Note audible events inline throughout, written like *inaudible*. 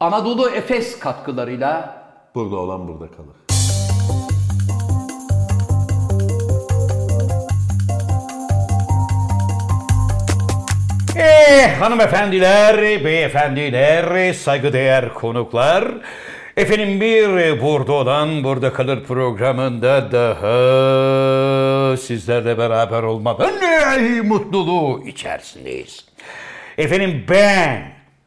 Anadolu Efes katkılarıyla Burada olan burada kalır. Eh, hanımefendiler, beyefendiler, saygıdeğer konuklar. Efendim bir e, burada olan burada kalır programında daha sizlerle beraber olmanın eh, mutluluğu içerisindeyiz. Efendim ben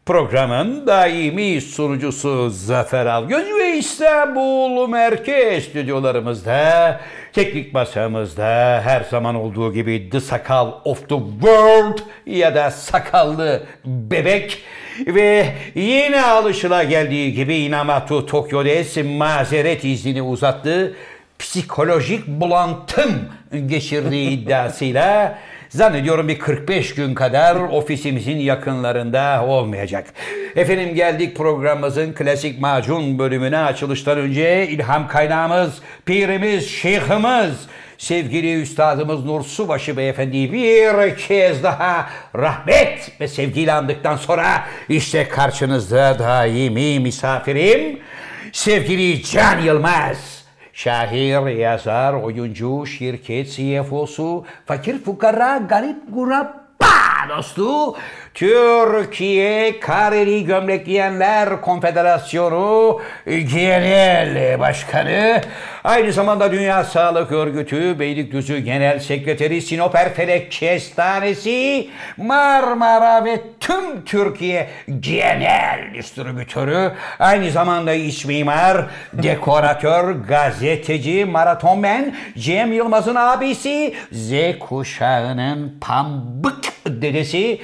programın daimi sunucusu Zafer Algöz ve İstanbul Merkez stüdyolarımızda, teknik masamızda her zaman olduğu gibi The Sakal of the World ya da Sakallı Bebek ve yine alışıla geldiği gibi Inamatu Tokyo Des mazeret iznini uzattığı psikolojik bulantım geçirdiği iddiasıyla zannediyorum bir 45 gün kadar ofisimizin yakınlarında olmayacak. Efendim geldik programımızın klasik macun bölümüne açılıştan önce ilham kaynağımız, pirimiz, şeyhimiz, sevgili üstadımız Nur Subaşı Beyefendi'yi bir kez daha rahmet ve sevgiyle andıktan sonra işte karşınızda daimi misafirim sevgili Can Yılmaz. Şair, yazar, oyuncu, şirket CFO'su, fakir fukara, garip guraba dostu, Türkiye Kareli Gömlek Giyenler Konfederasyonu Genel Başkanı, aynı zamanda Dünya Sağlık Örgütü Beylikdüzü Genel Sekreteri Sinoper Felek Kestanesi, Marmara ve tüm Türkiye Genel Distribütörü, aynı zamanda iç mimar, dekoratör, gazeteci, maratonmen, Cem Yılmaz'ın abisi, Z kuşağının pambık dedesi,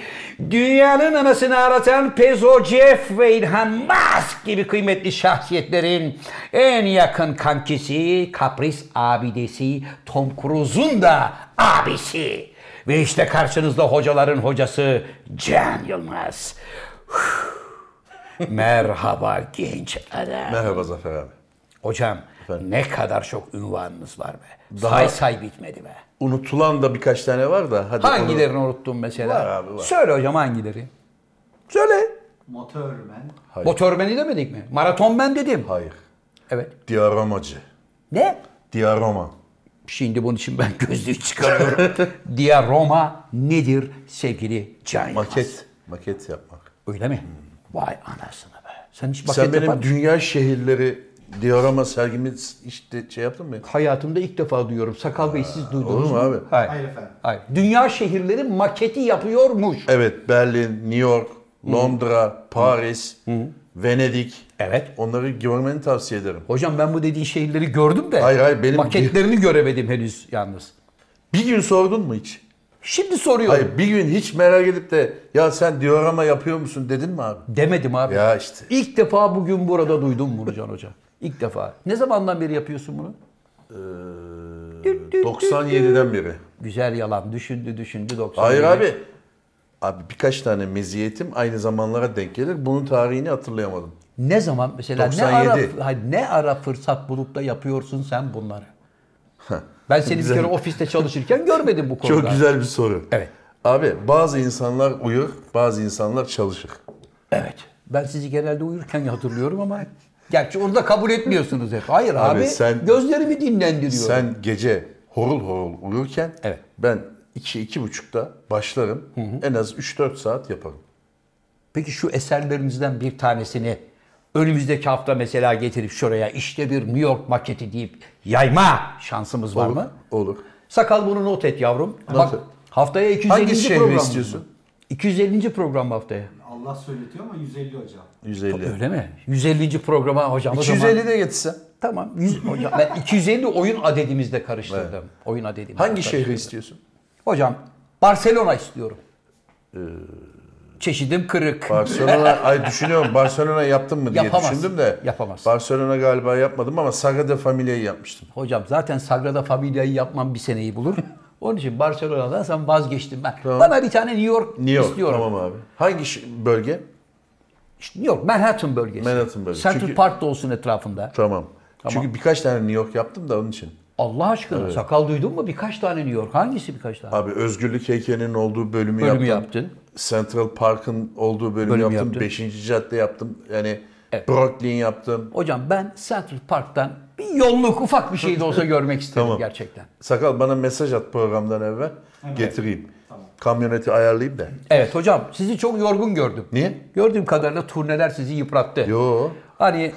dünyanın anasını ağlatan Pezo Jeff ve İlhan Musk gibi kıymetli şahsiyetlerin en yakın kankisi, kapris abidesi Tom Cruise'un da abisi. Ve işte karşınızda hocaların hocası Can Yılmaz. Üf. Merhaba genç adam. Merhaba Zafer abi. Hocam ne kadar çok ünvanınız var be. Say say bitmedi be. Unutulan da birkaç tane var da. Hadi Hangilerini onu- unuttun mesela? Var abi, var. Söyle hocam hangileri? Söyle. Motörmen. Hayır. Motormeni demedik mi? Maraton ben dedim. Hayır. Evet. Diyaramacı. Ne? Diyaroma. Şimdi bunun için ben *laughs* gözlüğü *laughs* çıkarıyorum. Diaroma nedir sevgili Can Yılmaz? Maket. Maket yapmak. Öyle mi? Vay anasını be. Sen hiç maket Sen benim yapar mısın? dünya şehirleri diorama sergimi işte şey yaptın mı? Hayatımda ilk defa duyuyorum. Sakal Bey siz Olur duydunuz mu mu? abi? Hayır. Hayır efendim. Hayır. Dünya şehirleri maketi yapıyormuş. Evet Berlin, New York, Londra, Paris, Venedik. Evet. Onları görmeni tavsiye ederim. Hocam ben bu dediğin şehirleri gördüm de Hayır, hayır, benim- maketlerini göremedim henüz yalnız. Bir gün sordun mu hiç? Şimdi soruyorum. Hayır bir gün hiç merak edip de ya sen diorama yapıyor musun dedin mi abi? Demedim abi. Ya işte. İlk defa bugün burada duydum bunu Can Hoca. İlk defa. Ne zamandan beri yapıyorsun bunu? Düt düt 97'den beri. Güzel yalan. Düşündü düşündü 90. Hayır abi. Abi birkaç tane meziyetim aynı zamanlara denk gelir. Bunun tarihini hatırlayamadım. Ne zaman mesela ne 97. ara, hayır, ne ara fırsat bulup da yapıyorsun sen bunları? ben seni bir kere ofiste çalışırken görmedim bu konuda. *laughs* Çok güzel bir soru. Evet. Abi bazı insanlar uyur, bazı insanlar çalışır. Evet. Ben sizi genelde uyurken hatırlıyorum ama gerçi onu da kabul etmiyorsunuz hep. Hayır abi, Abi sen- gözlerimi dinlendiriyorum. Sen gece horul horul uyurken Evet. ben 2 iki, 2.30'da başlarım. En az 3-4 saat yaparım. Peki şu eserlerinizden bir tanesini önümüzdeki hafta mesela getirip şuraya işte bir New York maketi deyip yayma şansımız var Olur. mı? Olur. Sakal bunu not et yavrum. Bak et. haftaya 250. Hangi şehri program. istiyorsun? 250. program haftaya. Allah söyletiyor ama 150 hocam. 150. Öyle mi? 150. programa hocam o 250 zaman. de getirsen. Tamam. 100, hocam, ben 250 oyun adedimizde karıştırdım. Oyun adedimizde. Hangi şey? karıştırdım. şehri istiyorsun? Hocam Barcelona istiyorum. Çeşidim kırık. Ee, Barcelona, *laughs* ay düşünüyorum Barcelona yaptım mı diye Yapamazsın. düşündüm de. Yapamazsın. Barcelona galiba yapmadım ama Sagrada Familia'yı yapmıştım. Hocam zaten Sagrada Familia'yı yapmam bir seneyi *laughs* bulur. Onun için Barcelona'dan sen vazgeçtim ben. Bana bir tane New York, New York. istiyorum. Tamam abi. Hangi ş- bölge? İşte New York, Manhattan bölgesi. Manhattan bölgesi. Central Çünkü- Park da olsun etrafında. Tamam. Çünkü birkaç tane New York yaptım da onun için. Allah aşkına sakal duydun mu? Birkaç tane New York. Hangisi birkaç tane? Abi Özgürlük Heykeli'nin olduğu bölümü, Bölümü yaptım. yaptın. Central Park'ın olduğu bölümü, Bölümü yaptım. yaptın. Beşinci cadde yaptım. Yani Brooklyn yaptım. Hocam ben Central Park'tan bir yolluk ufak bir şey de *laughs* olsa görmek isterim Tamam. gerçekten. Sakal bana mesaj at programdan evvel. Getireyim. Kamyoneti ayarlayayım da. Evet hocam sizi çok yorgun gördüm. Niye? Gördüğüm kadarıyla turneler sizi yıprattı. Yo. Hani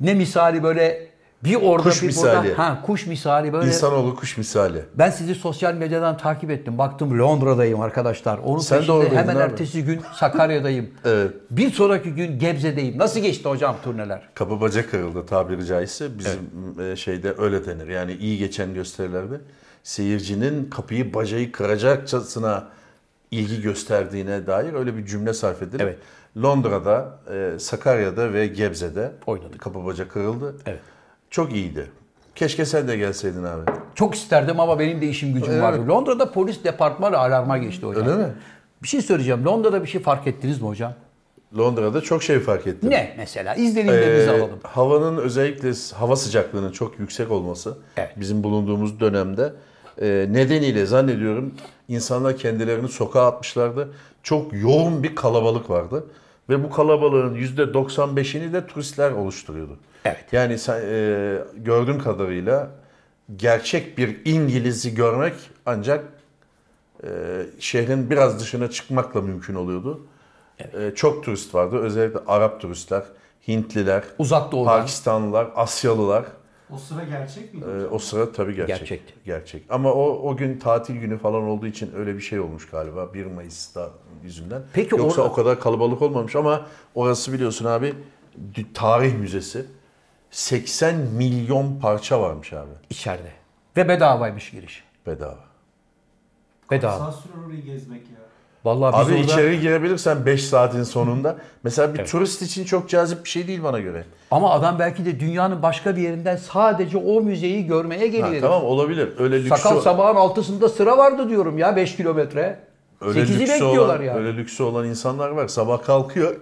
ne misali böyle bir orada Kuş bir misali. burada. Ha, kuş misali böyle. İnsanoğlu kuş misali. Ben sizi sosyal medyadan takip ettim. Baktım Londra'dayım arkadaşlar. Onun Sen de peşinde oradaydın hemen abi. ertesi gün Sakarya'dayım. *laughs* Evet. Bir sonraki gün Gebze'deyim. Nasıl geçti hocam turneler? Kapı bacak kırıldı tabiri caizse. Bizim e, şeyde öyle denir. Yani iyi geçen gösterilerde seyircinin kapıyı bacayı kıracakçasına ilgi gösterdiğine dair öyle bir cümle sarf edilip Evet. Londra'da, e, Sakarya'da ve Gebze'de Oynadık. kapı bacak kırıldı. Evet. Çok iyiydi. Keşke sen de gelseydin abi. Çok isterdim ama benim de işim gücüm vardı. Londra'da polis departmanı alarma geçti hocam. Öyle mi? Bir şey söyleyeceğim. Londra'da bir şey fark ettiniz mi hocam? Londra'da çok şey fark ettim. Ne mesela? İzlenimlerinizi Ee, alalım. Havanın özellikle s- hava sıcaklığının çok yüksek olması Evet. bizim bulunduğumuz dönemde e, nedeniyle zannediyorum insanlar kendilerini sokağa atmışlardı. Çok yoğun bir kalabalık vardı ve bu kalabalığın %95'ini de turistler oluşturuyordu. Evet. Yani sen, e, gördüğüm kadarıyla gerçek bir İngiliz'i görmek ancak e, şehrin biraz dışına çıkmakla mümkün oluyordu. Ee, Çok turist vardı. Özellikle Arap turistler, Hintliler, Uzak doğudan. Pakistanlılar, Asyalılar. O sıra gerçek miydi? Ee, O sıra tabii gerçek. Gerçekti. Gerçek. Ama o, o gün tatil günü falan olduğu için öyle bir şey olmuş galiba 1 Mayıs'ta yüzünden. Peki Yoksa orada- o kadar kalabalık olmamış ama orası biliyorsun abi d- tarih müzesi. 80 milyon parça varmış abi İçeride. Ve bedavaymış giriş. bedava. Bedava. Saat sürer orayı gezmek ya. Vallahi biz Abi orada... içeri girebilirsen 5 saatin sonunda. Mesela bir turist için çok cazip bir şey değil bana göre. Ama adam belki de dünyanın başka bir yerinden sadece o müzeyi görmeye Ha, geliyor. tamam olabilir. Öyle lüksü Şey Sakal sabahın altısında sıra vardı diyorum ya 5 kilometre. Öyle 8'i lüksü bekliyorlar olan, ya. Öyle lüksü olan insanlar var. Sabah kalkıyor.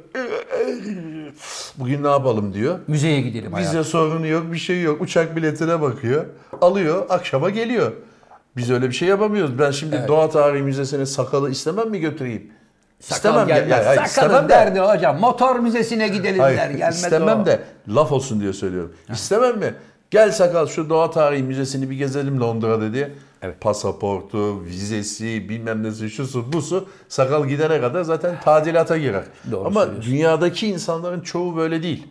Bugün ne yapalım diyor. Müzeye gidelim hayatım. Vize sorunu yok, bir şey yok. Uçak biletine bakıyor. Alıyor, akşama geliyor. Biz öyle bir şey yapamıyoruz. Ben şimdi Doğa Tarihi Müzesi'ne sakalı istemem mi götüreyim? Sakal ya- gelmez. ya- hayır, Sakalın istemem de- derdi hocam. Motor müzesine gidelim Hayır, der. Gelmez istemem o. de laf olsun diye söylüyorum. İstemem mi? Gel sakal şu Doğa Tarihi Müzesi'ni bir gezelim Londra'da diye. Pasaportu, vizesi, bilmem nesi, şusu, busu. Sakal gidene kadar zaten tadilata girer. Doğru Ama söylüyorsun. dünyadaki insanların çoğu böyle değil.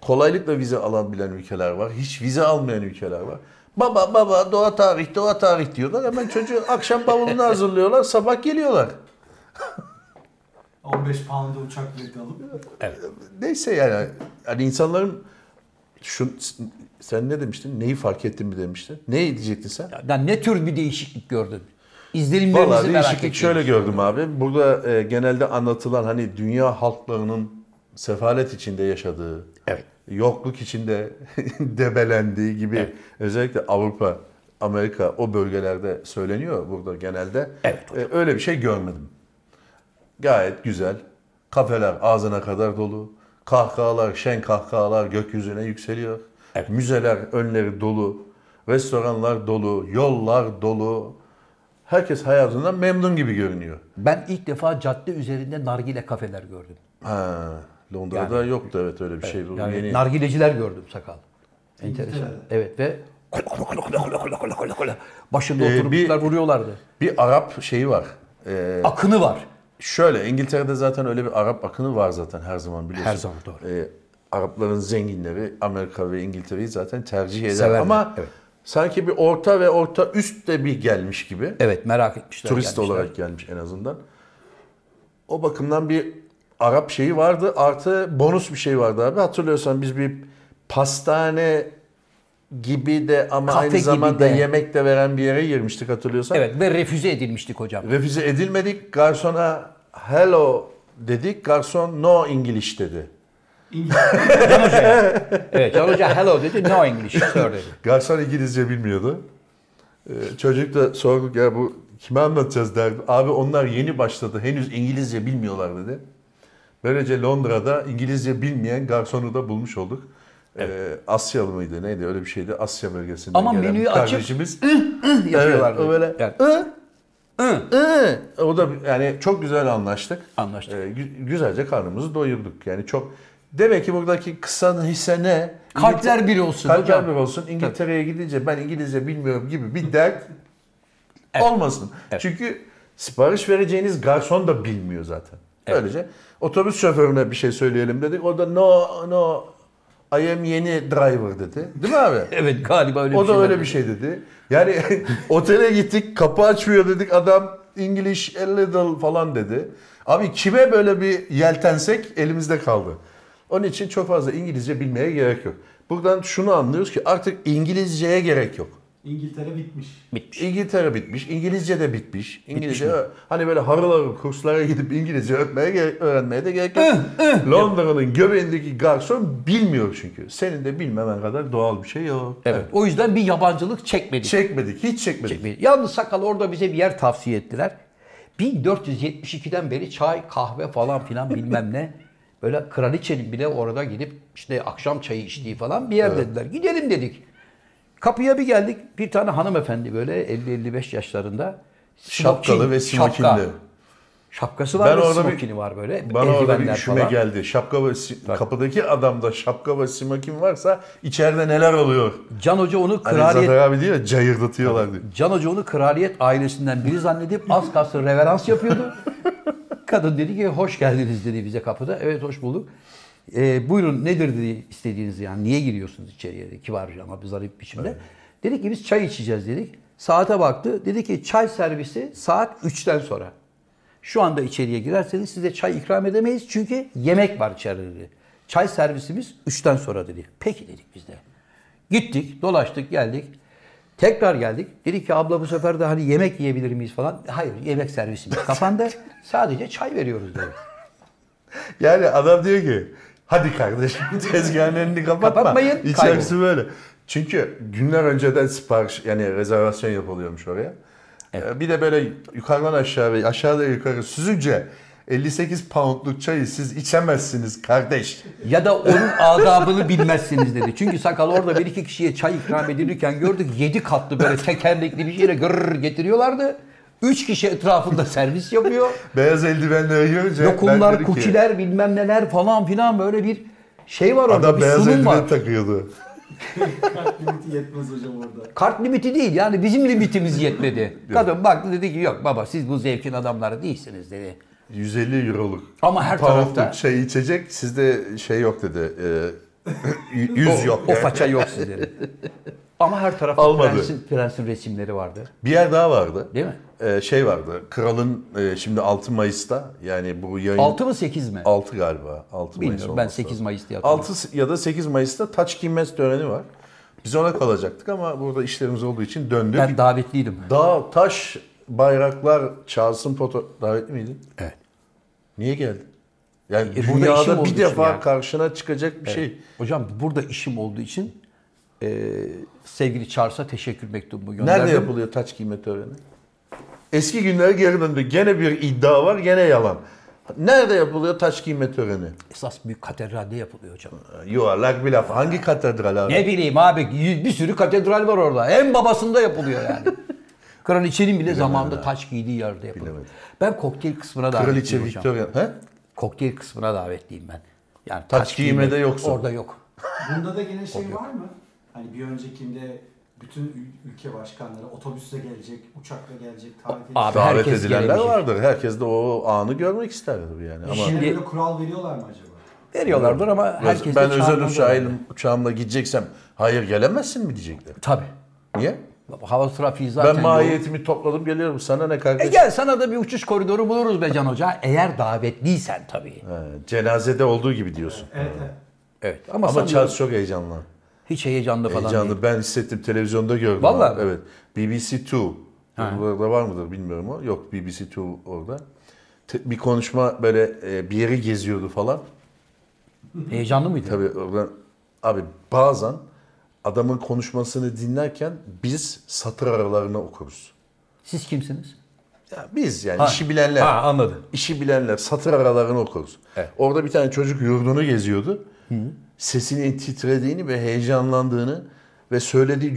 Kolaylıkla vize alabilen ülkeler var. Hiç vize almayan ülkeler var. Baba baba doğa tarih doğa tarih diyorlar. Hemen çocuğu akşam bavulunu hazırlıyorlar. Sabah geliyorlar. 15 pound'a uçak bileti alıp Neyse yani hani insanların şu sen ne demiştin? Neyi fark ettin mi demiştin? Ne diyecektin sen? Ya ne tür bir değişiklik gördün? İzlenimlerinizi Vallahi merak değişiklik ettim. şöyle gördüm abi. Burada e, genelde anlatılan hani dünya halklarının sefalet içinde yaşadığı, Evet. yokluk içinde *laughs* debelendiği gibi özellikle Avrupa, Amerika o bölgelerde söyleniyor burada genelde. Evet E, öyle bir şey görmedim. Gayet güzel. Kafeler ağzına kadar dolu. Kahkahalar, şen kahkahalar gökyüzüne yükseliyor. Müzeler önleri dolu. Restoranlar dolu. Yollar dolu. Herkes hayatından memnun gibi görünüyor. Ben ilk defa cadde üzerinde nargile kafeler gördüm. Ha, Londra'da yoktu evet öyle bir şey. Bu Yani yeni. nargileciler gördüm sakal. Enteresan. İngiltere'de. Evet ve kola kola kola kola kola kola kola kola kola. Başında Ee, oturmuşlar bir- vuruyorlardı. Bir Arap şeyi var. Ee, Akını var. Şöyle İngiltere'de zaten öyle bir Arap akını var zaten her zaman biliyorsun. Her zaman, doğru. Ee, Arapların zenginleri Amerika ve İngiltere'yi zaten tercih eder Severler, ama evet. sanki bir orta ve orta üst de bir gelmiş gibi. Evet merak etmişler. Turist gelmişler. olarak gelmiş en azından. O bakımdan bir Arap şeyi vardı artı bonus bir şey vardı abi. Hatırlıyorsan biz bir pastane gibi de ama Kafe aynı gibi zamanda de. yemek de veren bir yere girmiştik hatırlıyorsan. Evet ve refüze edilmiştik hocam. Refüze edilmedik. Garsona hello dedik. Garson no English dedi. İngiltere Evet Can Hoca hello dedi no English sir *laughs* dedi. Garson İngilizce bilmiyordu. Ee, Çocuk da sorduk ya bu kime anlatacağız derdi. Abi onlar yeni başladı. Henüz İngilizce bilmiyorlar dedi. Böylece Londra'da İngilizce bilmeyen garsonu da bulmuş olduk. Ee, Asyalı mıydı neydi öyle bir şeydi. Asya bölgesinden Ama gelen menüyü açıp kardeşimiz. Yapıyorlardı. Evet, o böyle Yani "Hı, hı." O da bir- yani çok güzel anlaştık. Anlaştık. Ee, gü- güzelce karnımızı doyurduk. Yani çok Demek ki buradaki kısa hisse ne? Kalpler bir olsun hocam. Kalpler bir olsun. İngiltere'ye gidince ben İngilizce bilmiyorum gibi bir dert olmasın. Çünkü sipariş vereceğiniz garson da bilmiyor zaten. Böylece otobüs şoförüne bir şey söyleyelim dedik. O da no no I am yeni driver dedi. Değil *laughs* mi abi? Evet galiba öyle bir O da şeyler öyle bir şey dedi. Yani *laughs* otele gittik kapı açmıyor dedik adam English a little falan dedi. Abi kime böyle bir yeltensek elimizde kaldı. Onun için çok fazla İngilizce bilmeye gerek yok. Buradan şunu anlıyoruz ki artık İngilizceye gerek yok. İngiltere bitmiş. bitmiş. İngiltere bitmiş, İngilizce de bitmiş. İngilizce hani böyle harıl harıl kurslara gidip İngilizce öğretmeye gere- öğrenmeye de gerek yok. Londra'nın göbeğindeki garson bilmiyor çünkü. Senin de bilmemen kadar doğal bir şey yok. Evet. O yüzden bir yabancılık çekmedik. Çekmedik, hiç çekmedik. Bir- Yalnız sakal orada bize bir yer tavsiye ettiler. 1472'den beri çay, kahve falan filan bilmem *laughs* ne. Böyle kraliçenin bile orada gidip işte akşam çayı içtiği falan bir yer dediler. Gidelim dedik. Kapıya bir geldik. Bir tane hanımefendi böyle 50-55 yaşlarında. Şapkalı smoking, ve şapka. smokinli. Şapkası var Ben ve orada bir- smokini var böyle. Bana orada bir eldivenler üşüme falan. geldi. Şapka ve si- kapıdaki adamda şapka ve smokin varsa içeride neler oluyor? Can Hoca onu Hani kraliyet Zafer abi diyor ya cayırdatıyorlar diyor. Can Hoca onu kraliyet ailesinden biri zannedip az kalsın reverans yapıyordu. Kadın dedi ki hoş geldiniz dedi bize kapıda. Evet hoş bulduk. "Ee, buyurun nedir dedi istediğiniz yani niye giriyorsunuz içeriye dedi. Kibarca ama bir zarif biçimde. Dedi ki biz çay içeceğiz dedik. Saate baktı. Dedi ki çay servisi saat 3'ten sonra. Şu anda içeriye girerseniz size çay ikram edemeyiz çünkü yemek var içeride dedi. Çay servisimiz 3'ten sonra dedi. Peki dedik biz de. Gittik, dolaştık, geldik. Tekrar geldik. Dedi ki abla bu sefer de hani yemek yiyebilir miyiz falan. Hayır yemek *laughs* servisimiz kapandı. Sadece çay veriyoruz dedi. Yani adam diyor ki hadi kardeşim *laughs* tezgahın elini kapatma. Kapatmayın, İçerisi böyle. Çünkü günler önceden sipariş yani rezervasyon yapılıyormuş oraya. Ee, Bir de böyle yukarıdan aşağı ve aşağıda yukarı süzünce 58 poundluk çayı siz içemezsiniz kardeş. Ya da onun adabını bilmezsiniz dedi. Çünkü sakal orada bir iki kişiye çay ikram edilirken gördük. Yedi katlı böyle tekerlekli bir şeyle gırr getiriyorlardı. Üç kişi etrafında servis yapıyor. Beyaz eldivenleri görünce ben Lokumlar, dedim ki, kukiler bilmem neler falan filan böyle bir şey var orada. Adam bir beyaz sunum var. eldiven takıyordu. Kalp *laughs* limiti yetmez hocam orada. Kart limiti değil yani bizim *laughs* limitimiz yetmedi. Kadın baktı dedi ki yok baba siz bu zevkin adamları değilsiniz dedi. 150 euroluk. Ama her Poundluk tarafta- şey içecek sizde şey yok dedi. *laughs* Ee, yüz yok. O yani. faça yok *laughs* sizlerin. Ama her tarafta Almadı. prensin, prensin resimleri vardı. Bir yer daha vardı. Değil mi? Ee, şey vardı. Kralın e, şimdi 6 Mayıs'ta yani bu yayın 6 mı 8 mi? 6 galiba. 6 Mayıs Bilmiyorum ben olması 8 lazım. Mayıs diye hatırlıyorum. 6 ya da 8 Mayıs'ta taç giyinmez töreni var. Biz ona kalacaktık ama burada işlerimiz olduğu için döndük. Ben davetliydim. Dağ, taş, bayraklar, Charles'ın foto... Davetli miydin? Evet. Niye geldin? Yani E, burada işim dünyada olduğu bir için defa yani. karşına çıkacak bir şey. Hocam burada işim olduğu için e, sevgili Charles'a teşekkür mektubumu gönderdim. Nerede yapılıyor taç giyme töreni? Eski günlere geri döndü. Gene bir iddia var, gene yalan. Nerede yapılıyor taç giyme töreni? Esas büyük katedralde yapılıyor hocam. Yuvarlak bir laf. Hangi katedral abi? Ne bileyim abi y- bir sürü katedral var orada. En babasında yapılıyor *laughs* yani. Kraliçenin bile zamanında taç giydiği yerde yapılıyor. Bilemedim. Ben kokteyl kısmına Kraliçe davetliyim hocam. Victoria. He? Kokteyl kısmına davetliyim ben. Yani Taç giymede giymek yoksun. Orada yok. Bunda da gene şey var mı? Hani bir öncekinde bütün ül- ülke başkanları otobüsle gelecek, uçakla gelecek, tatil. Abi Davet herkes edilenler gelemeyecek. vardır. Herkes de o anı görmek ister tabii yani. Ama Şimdi Şimdi- böyle kural veriyorlar mı acaba? Veriyorlardır ama herkes de ben özel çağırmaz uçağıyla, herhalde. uçağımla gideceksem hayır gelemezsin mi diyecekler. Tabii. Niye? Hava trafiği zaten ben yoğun. mahiyetimi topladım geliyorum sana ne E kardeşim. gel sana da bir uçuş koridoru buluruz be Can Hoca. Eğer davetliysen tabii. Ha, cenazede olduğu gibi diyorsun. Evet, evet. Evet. Ama, Ama sanıyorum Charles çok heyecanlı. hiç heyecanlı falan değil. Heyecanlı ben hissettim televizyonda gördüm. Vallahi abi. mi? Evet. BBC Two. Burada var mıdır bilmiyorum o. Yok BBC Two orada. Te- bir konuşma böyle e, bir yeri geziyordu falan. Heyecanlı mıydı? Tabii oradan abi bazen adamın konuşmasını dinlerken biz satır aralarını okuruz. Siz kimsiniz? Ya biz yani Ha. işi bilenler. Ha anladım. işi bilenler satır aralarını okuruz. Evet. Orada bir tane çocuk yurdunu geziyordu. Sesinin titrediğini ve heyecanlandığını ve söylediği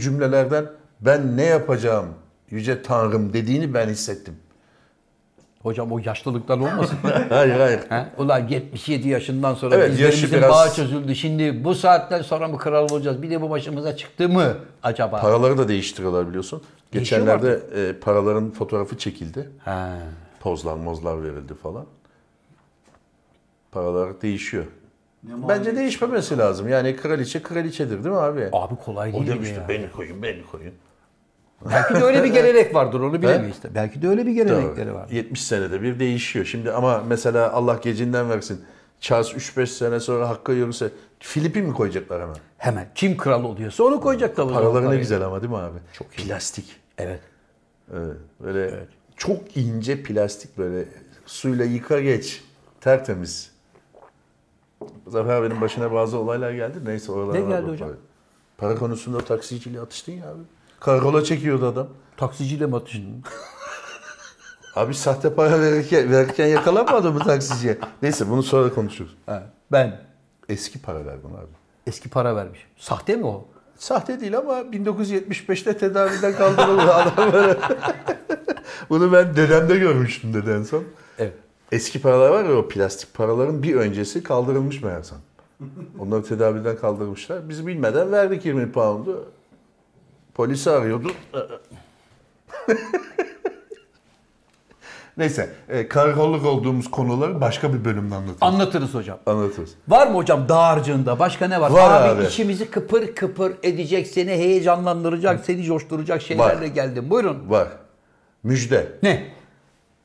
*laughs* cümlelerden ben ne yapacağım yüce tanrım dediğini ben hissettim. Hocam o yaşlılıktan *laughs* olmasın? hayır hayır. He? Ulan 77 yaşından sonra Evet, evet, yaşı dizlerimizin biraz- bağı çözüldü. Şimdi bu saatten sonra mı kral olacağız? Bir de bu başımıza çıktı mı acaba? Paraları da değiştiriyorlar biliyorsun. Değişiyor mu Geçenlerde e, paraların fotoğrafı çekildi. Ha. Pozlar mozlar verildi falan. Paralar değişiyor. Ne Bence değişmemesi lazım. Yani kraliçe kraliçedir değil mi abi? Abi kolay o Ah, değil mi demişti ya? beni koyun beni koyun. Belki de öyle bir *laughs* gelenek vardır onu bilemeyiz. de. Belki de öyle bir gelenekleri Tabii. var. 70 senede bir değişiyor. Şimdi ama mesela Allah gecinden versin. Charles 3-5 sene sonra Hakk'a yürüse Filip'i mi koyacaklar hemen? Hemen kim kral oluyorsa onu koyacak tabii. Paraları ne güzel ama değil mi abi? Çok iyi. Plastik. Evet. Evet, böyle çok ince plastik böyle suyla yıka geç. Tertemiz. Zafer abinin başına bazı olaylar geldi. Neyse oralara Ne geldi bakma. hocam? Para konusunda taksiciyle atıştın ya abi. Karakola çekiyordu adam. Taksiciyle mi atıştın? Abi sahte para verirken, verirken yakalanmadı mı taksiciye? Neyse bunu sonra konuşuruz. Ha, ben Eski paralar bunlar. abi. eski para vermişim. Sahte mi o? Sahte değil ama 1975'te tedaviden kaldırıldı *laughs* adam böyle. Bunu ben dedemde görmüştüm dedi en son. Evet. Eski paralar var ya o plastik paraların bir öncesi kaldırılmış meğersem. Onları tedaviden kaldırmışlar. Biz bilmeden verdik 20 pound'u. Polisi arıyordu. *laughs* Neyse, e, karakolluk olduğumuz konuları başka bir bölümde anlatırız. Anlatırız hocam. Anlatırız. Var mı hocam dağarcığında? Başka ne var? Var abi, abi. içimizi kıpır kıpır edecek, seni heyecanlandıracak, seni coşturacak şeylerle Var. geldim. Buyurun. Var. Müjde. Ne?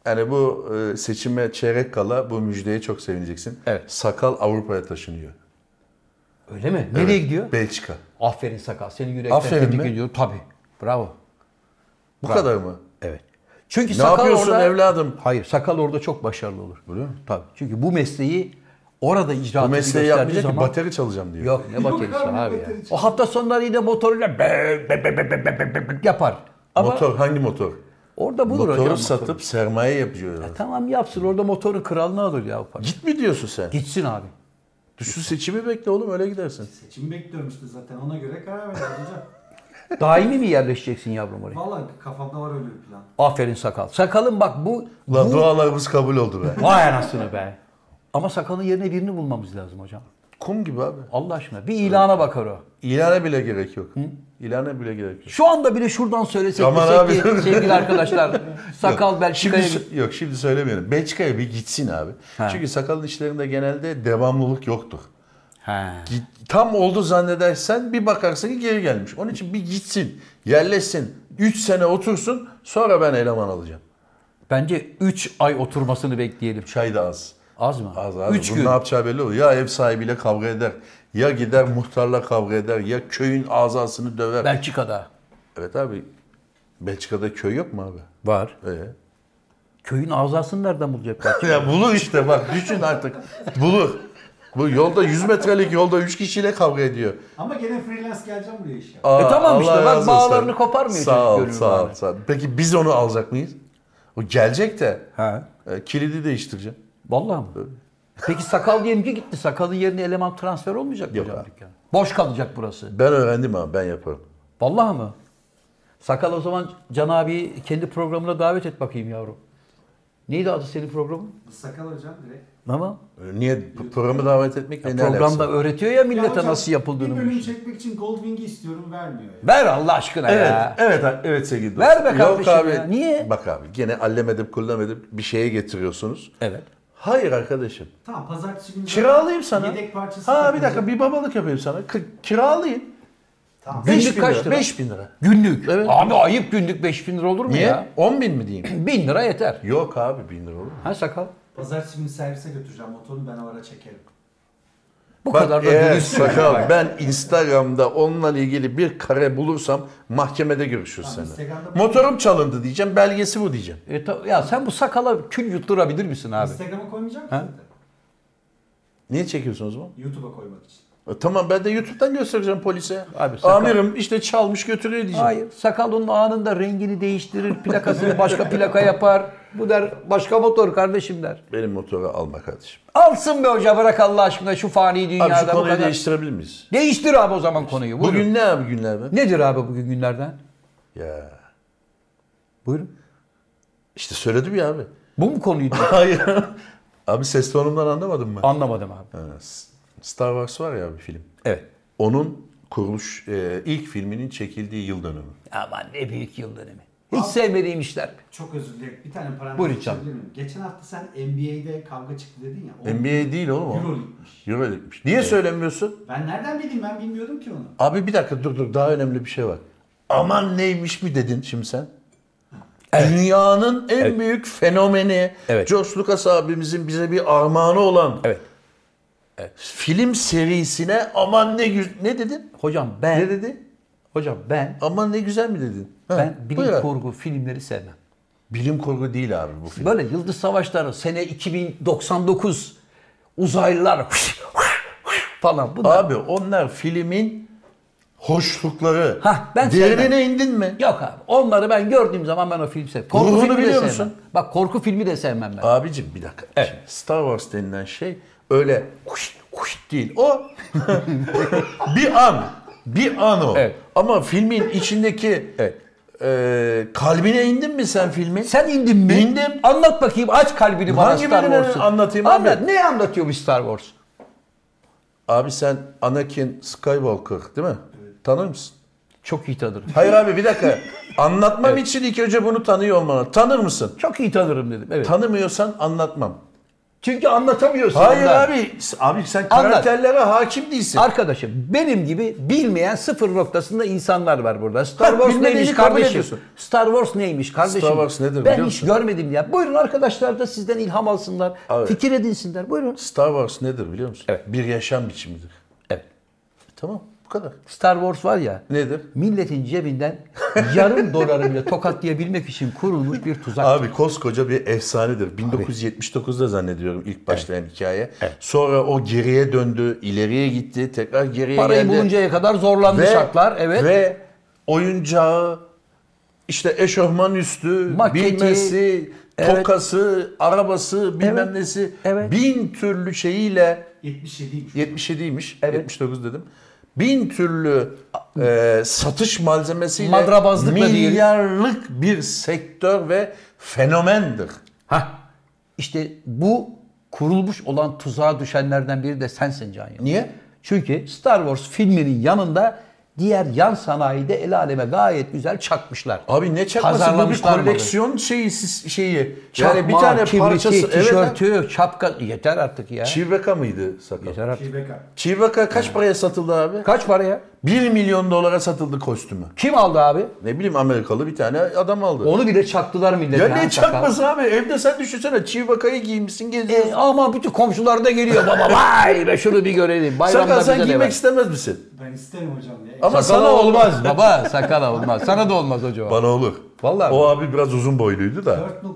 Yani bu e, seçime çeyrek kala bu müjdeye çok sevineceksin. Evet. Sakal Avrupa'ya taşınıyor. Öyle mi? Nereye gidiyor? Belçika. Aferin Sakal. Seni yürekten Aferin tebrik mi? ediyorum. Tabii. Bravo. Bu kadar mı? Evet. Çünkü Ne E, Sakal yapıyorsun orada... evladım? Hayır. Sakal orada çok başarılı olur. Biliyor musun? Tabii. Çünkü bu mesleği orada icra Bu mesleği yapmayacak zaman... ki bateri çalacağım diyor. Yok ne baterisi abi, abi ya. bateri O hafta sonları yine motoruyla be, be, be, be, be, be, be, be yapar. Ama motor hangi motor? orada bulur Motoru hocam. satıp sermaye yapıyor. Tamam yapsın orada motorun kralını alır ya. o para. Git mi diyorsun sen? Gitsin abi. Şu seçimi bekle oğlum öyle gidersin. Seçim bekliyorum işte zaten ona göre karar vereceğim *laughs* hocam. Daimi mi yerleşeceksin yavrum oraya? Valla kafamda var öyle bir plan. Aferin sakal. Sakalın bak bu... Ulan bu... dualarımız kabul *laughs* oldu be. Vay anasını be. Ama sakalın yerine birini bulmamız lazım hocam. Kum gibi abi. Allah aşkına. Bir ilana bakar o. İlana bile gerek yok. İlana bile gerek yok. Şu anda bile şuradan söylesek Aman desek abi. ki sevgili *laughs* arkadaşlar sakal Şimdi Belçika'ya git. sö- yok şimdi söylemiyorum. Belçika'ya bir gitsin abi. Ha. Çünkü sakalın işlerinde genelde devamlılık yoktur. He. Git- Tam oldu zannedersen bir bakarsın ki geri gelmiş. Onun için bir gitsin, yerleşsin, 3 sene otursun sonra ben eleman alacağım. Bence 3 ay oturmasını bekleyelim. Çay da az. Az mı? Az abi. 3 Bunun gün. ne yapacağı belli olur. Ya ev sahibiyle kavga eder, ya gider muhtarla kavga eder, ya köyün azasını döver. Belçika'da. Evet abi. Belçika'da köy yok mu abi? Var. Ee? Köyün azasını nereden bulacaklar? *laughs* ya bulur işte bak düşün artık. Bulur. Bu yolda 100 metrelik yolda 3 kişiyle kavga ediyor. Ama gene freelance geleceğim buraya işe. Aa, tamam işte, Allah bak razı olsun. bağlarını koparmıyor çocuk Sağ ol, gönül sağ ol, bağını. sağ ol. Peki biz onu alacak mıyız? O gelecek de He. e, kilidi değiştireceğim. Vallahi mi? Peki sakal diyelim ki gitti. Sakalın yerine eleman transfer olmayacak mı Yok hocam abi. dükkana? Boş kalacak burası. Ben öğrendim abi ben yaparım. Vallahi mı? Sakal o zaman Can abi kendi programına davet et bakayım yavrum. Neydi adı senin programın? Sakal hocam direkt. Tamam. E, Niye P- programı davet etmek ne Programda alakası? öğretiyor ya Ya millete hocam, nasıl yapıldığını. Bir bu bölüm işi. çekmek için Goldwing'i istiyorum vermiyor ya. Ver Allah aşkına Evet, ya. evet, a- evet sevgili dostum. Ver be Yok kardeşim abi, ya, niye? Bak abi gene allem edip kullem edip bir şeye getiriyorsunuz. Evet. Hayır arkadaşım. Tamam pazartesi günü. Kiralayayım sana. Yedek parçası. Ha bir takılacak. dakika bir babalık yapayım sana. K- kiralayayım. Tamam. 5 Günlük bin kaç lira. lira? 5 bin lira. Günlük. Evet. Abi ayıp günlük 5000 lira olur mu Niye? ya? 10 bin mi diyeyim? 1000 lira yeter. Yok abi 1000 lira olur mu? Ha sakal. Pazartesi günü servise götüreceğim motorunu ben o ara çekerim. Bu Bak e, kadar da eğer dürüst. sakal ben Instagram'da onunla ilgili bir kare bulursam mahkemede görüşürüz Tamam, seninle. Instagram'da- Motorum çalındı diyeceğim, belgesi bu diyeceğim. E, ta- ya sen bu sakala kül yutturabilir misin abi? Instagram'a koymayacağım ki Ha? zaten. Niye çekiyorsunuz bunu? YouTube'a koymak için. E, tamam ben de YouTube'dan göstereceğim polise. Abi sakal- Amirim işte çalmış götürüyor diyeceğim. Hayır. Sakal onun anında rengini değiştirir, plakasını başka plaka yapar. Bu der başka motor kardeşim der. Benim motoru alma kardeşim. Alsın be hoca bırak Allah aşkına şu fani Abi şu dünyada bu konuyu kadar. değiştirebilir miyiz? Değiştir abi o zaman konuyu. Buyurun. Bugün ne abi günler be? Nedir abi bugün günlerden? Ya Buyurun. işte söyledim ya abi. *laughs* Bu mu konuydu? Hayır. Abi ses tonumdan anlamadın mı? *laughs* Anlamadım abi. Ha, S- Star Wars var ya bir film. Evet. Onun kuruluş e, ilk filminin çekildiği yıl dönümü. Aman ne büyük yıl dönemi. Hiç sevmediğim işler. Çok özür dilerim. Bir tane parantez Buyurun açabilir canım. miyim? Geçen hafta sen NBA'de kavga çıktı dedin ya. O NBA değil oğlum o. Euroleague'miş. Euroleague'miş. Niye söylemiyorsun? Ben nereden bileyim ben bilmiyordum ki onu. Abi bir dakika dur dur daha önemli bir şey var. Aman neymiş mi dedin şimdi sen? Dünyanın en büyük fenomeni, Evet. George Lucas abimizin bize bir armağanı olan Evet. film serisine aman ne güzel ne dedin? Hocam ben... Ne dedi? Hocam ben... Aman ne güzel mi dedin? Ha, Ben bilim buyur abi. kurgu filmleri sevmem. bilim kurgu değil abi bu film. Böyle Yıldız Savaşları sene 2099 uzaylılar *laughs* falan bunlar. Abi onlar filmin hoşlukları. Hah, ben Derinine sevmem. indin mi? Yok abi onları ben gördüğüm zaman ben o film sevmem. Ruhunu Korku filmi de biliyor sevmem. musun? Bak korku filmi de sevmem ben. Abicim bir dakika. Şimdi Star Wars denilen şey öyle kuş kuş değil. O *laughs* bir an. Bir an o. Evet. Ama filmin içindeki Evet. e, kalbine indin mi sen filmin? Sen indin mi? İndim. Anlat bakayım aç kalbini bana Hangi Star birini Wars'u. anlatayım Anlat. abi? Ne anlatıyormuş Star Wars? Abi sen Anakin Skywalker değil mi? Tanır mısın? Çok iyi tanırım. Hayır abi bir dakika. Anlatmam için ilk önce bunu tanıyor olmalı. Tanır mısın? Çok iyi tanırım dedim. Evet. Tanımıyorsan anlatmam. Çünkü anlatamıyorsun. Hayır ondan. abi. Abi sen Anlat. karakterlere hakim değilsin. Arkadaşım benim gibi bilmeyen sıfır noktasında insanlar var burada. Star Ha, Wars bilmediğini neymiş kabul kardeşim? ediyorsun. Star Wars neymiş kardeşim? Star Wars nedir Ben biliyor hiç musun? görmedim ya. Buyurun arkadaşlar da sizden ilham alsınlar. Evet. Fikir edinsinler. Buyurun. Star Wars nedir biliyor musun? Evet. Bir yaşam biçimidir. E, Evet. Tamam bu kadar. Star Wars var ya. Nedir? Milletin cebinden *laughs* yarım doları bile tokatlayabilmek için kurulmuş bir tuzak. Abi koskoca bir efsanedir. 1979'da zannediyorum ilk başlayan hikaye. Sonra o geriye döndü, ileriye gitti, tekrar geriye Parayı geldi. buluncaya kadar zorlandı şartlar. Evet. Ve oyuncağı, işte eşofman üstü, Maketi, bilmesi, tokası, arabası, bilmem Evet, nesi. evet. Bin türlü şeyiyle 77'ymiş. 77'ymiş. Evet. 79 dedim. Bin türlü e, satış malzemesiyle Madrabazlıkla diyelim. milyarlık bir sektör ve fenomendir. Hah. İşte bu kurulmuş olan tuzağa düşenlerden biri de sensin Can Yılmaz. Niye? Çünkü Star Wars filminin yanında diğer yan sanayide el aleme gayet güzel çakmışlar. Abi ne çakması bu bir Pazarlamışlar mı? koleksiyon şeyi siz- şeyi. Çakma, yani bir tane kibriti, parçası evet. tişörtü, şapka yeter artık ya. Çivbeka mıydı sakal? yeter artık. Şebeka. Çivbeka kaç paraya satıldı abi? Kaç paraya? 1 milyon dolara satıldı kostümü. Kim aldı abi? Ne bileyim Amerikalı bir tane adam aldı. Onu bile çaktılar millete. ya ha, ne sakal. çakması abi? Evde sen düşünsene Çivbeka'yı giymişsin geziyorsun. E, ama bütün komşular da geliyor baba. Vay be şunu bir görelim. Bayramda Sakal bize sen de giymek ver. istemez misin? Ben isterim hocam ya. Ama Sakala sana olmaz baba. Sakala olmaz. Sana da olmaz hocam. Bana olur. Vallahi O abi biraz uzun boyluydu da.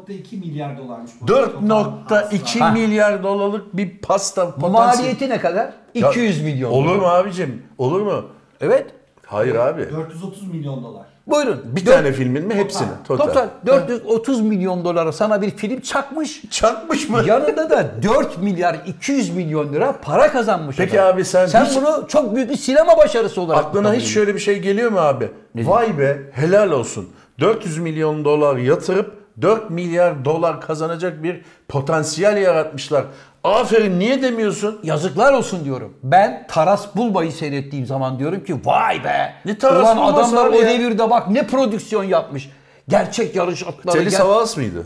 4.2 milyar dolarmış bu. Total hasılat. 4.2 milyar dolarlık bir pasta potansiyeli. Maliyeti ne kadar? Ya, 200 milyon. Olur mu abicim? Olur mu? Evet. Hayır abi. 430 milyon dolar. Buyurun. Bir Dört- tane filmin mi? Hepsini. Total. Total 430 milyon dolara sana bir film çakmış. Çakmış mı? Yanında da 4 milyar 200 milyon lira para kazanmış. Peki adam. abi sen hiç- bunu çok büyük bir sinema başarısı olarak Aklına hiç kabul şöyle bir şey geliyor mu abi? Vay be helal olsun. 400 milyon dolar yatırıp 4 milyar dolar kazanacak bir potansiyel yaratmışlar. Aferin niye demiyorsun? Yazıklar olsun diyorum. Ben Taras Bulba'yı seyrettiğim zaman diyorum ki vay be. Ne Taras Ulan Bulbası adamlar abi o ya?" devirde bak ne prodüksiyon yapmış. Gerçek yarış atları. Telis ger- Havalas mıydı?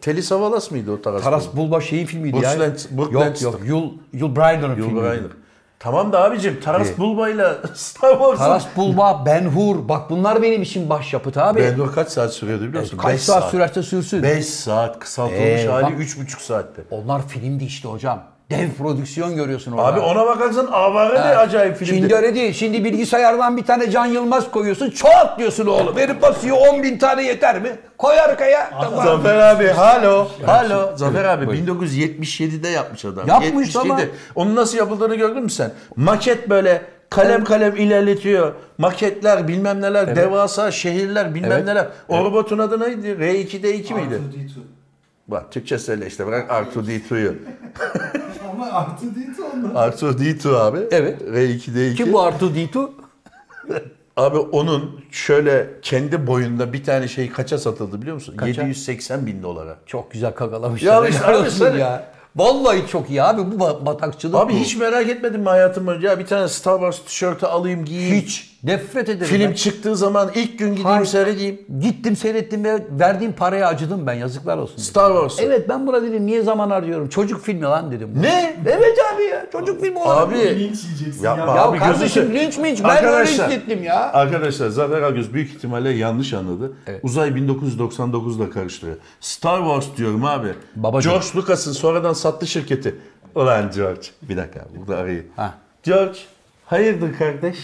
Telis Havalas mıydı o taraf? Taras Bulba şeyin filmiydi Butch ya. Lance- Butch yok Lancaster. yok. Yul, Yul Brynner'ın Yul filmiydi. Brynner. Tamam da abicim Taras Bulba'yla *laughs* Star Wars'ın... Taras Bulba, Ben Hur. Bak bunlar benim için başyapıt abi. Bendor kaç saat sürüyordu biliyor musun? Kaç Beş saat, sürerse sürsün. 5 saat kısaltılmış Ee, hali bak- 3,5 saatte. Onlar filmdi işte hocam. Dev prodüksiyon görüyorsun orada. Abi ona bakarsan avare de acayip filmdi. Şimdi öyle değil. Şimdi bilgisayardan bir tane Can Yılmaz koyuyorsun. Çoğalt diyorsun oğlum. Herif basıyor 10 bin tane yeter mi? Koy arkaya. Tamam. Zafer abi halo halo Zafer abi 1977'de yapmış adam. Yapmış ama- Onun nasıl yapıldığını gördün mü sen? Maket böyle kalem kalem ilerletiyor. Maketler bilmem neler devasa şehirler bilmem Evet. neler. O robotun adı neydi? R2D2 miydi? R2D2. Bak Türkçe söyle işte bırak R2D2'yu. Ama R2D2 onlar. R2D2 abi. Evet. R2D2. Kim bu Artu Ditu? Abi onun şöyle kendi boyunda bir tane şey kaça satıldı biliyor musun? 780 bin dolara. Çok güzel kakalamışlar. Ya işte Helal abi olsun sen- ya. Vallahi çok iyi abi. Bu ba- batakçılık Abi bu. hiç merak etmedim mi hayatım boyunca? Ya bir tane Star Wars tişörtü alayım giyeyim. hiç. Nefret ederim. Film ben. çıktığı zaman ilk gün gideyim Hayır. seyredeyim. Gittim seyrettim ve verdiğim paraya acıdım ben. Yazıklar olsun. dedim. Star Wars. Evet ben buna dedim niye zaman harcıyorum? Çocuk filmi lan dedim. Ne? Evet abi ya. Çocuk filmi olarak. Abi Linç yiyeceksin. yapma Ya. Ya abi kardeşim gözünü- linç minç ben öyle Arkadaşlar. hissettim ya. Arkadaşlar Zafer Algöz büyük ihtimalle yanlış anladı. Uzay 1999'da karıştırıyor. Star Wars diyorum abi. Babacım. George Lucas'ın sonradan sattı şirketi. Ulan George. Bir dakika abi, burada arayayım. Ha. George hayırdır kardeş?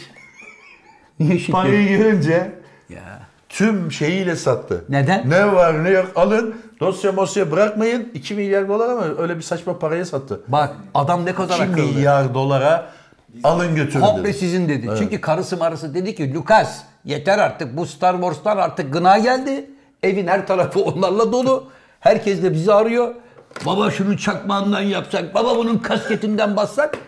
Niye şirket? Parayı görünce Ya. tüm şeyiyle sattı. Neden? Ne var ne yok alın. Dosya mosya bırakmayın. 2 milyar dolar ama öyle bir saçma paraya sattı. Bak adam ne 2 kadar akıllı. milyar dolara alın götürün dedi. Komple sizin dedi. Çünkü karısı marısı dedi ki Lucas yeter artık bu Star Wars'tan artık gına geldi. Evin her tarafı onlarla dolu. Herkes de bizi arıyor. Baba şunun çakmağından yapsak, baba bunun kasketinden bassak.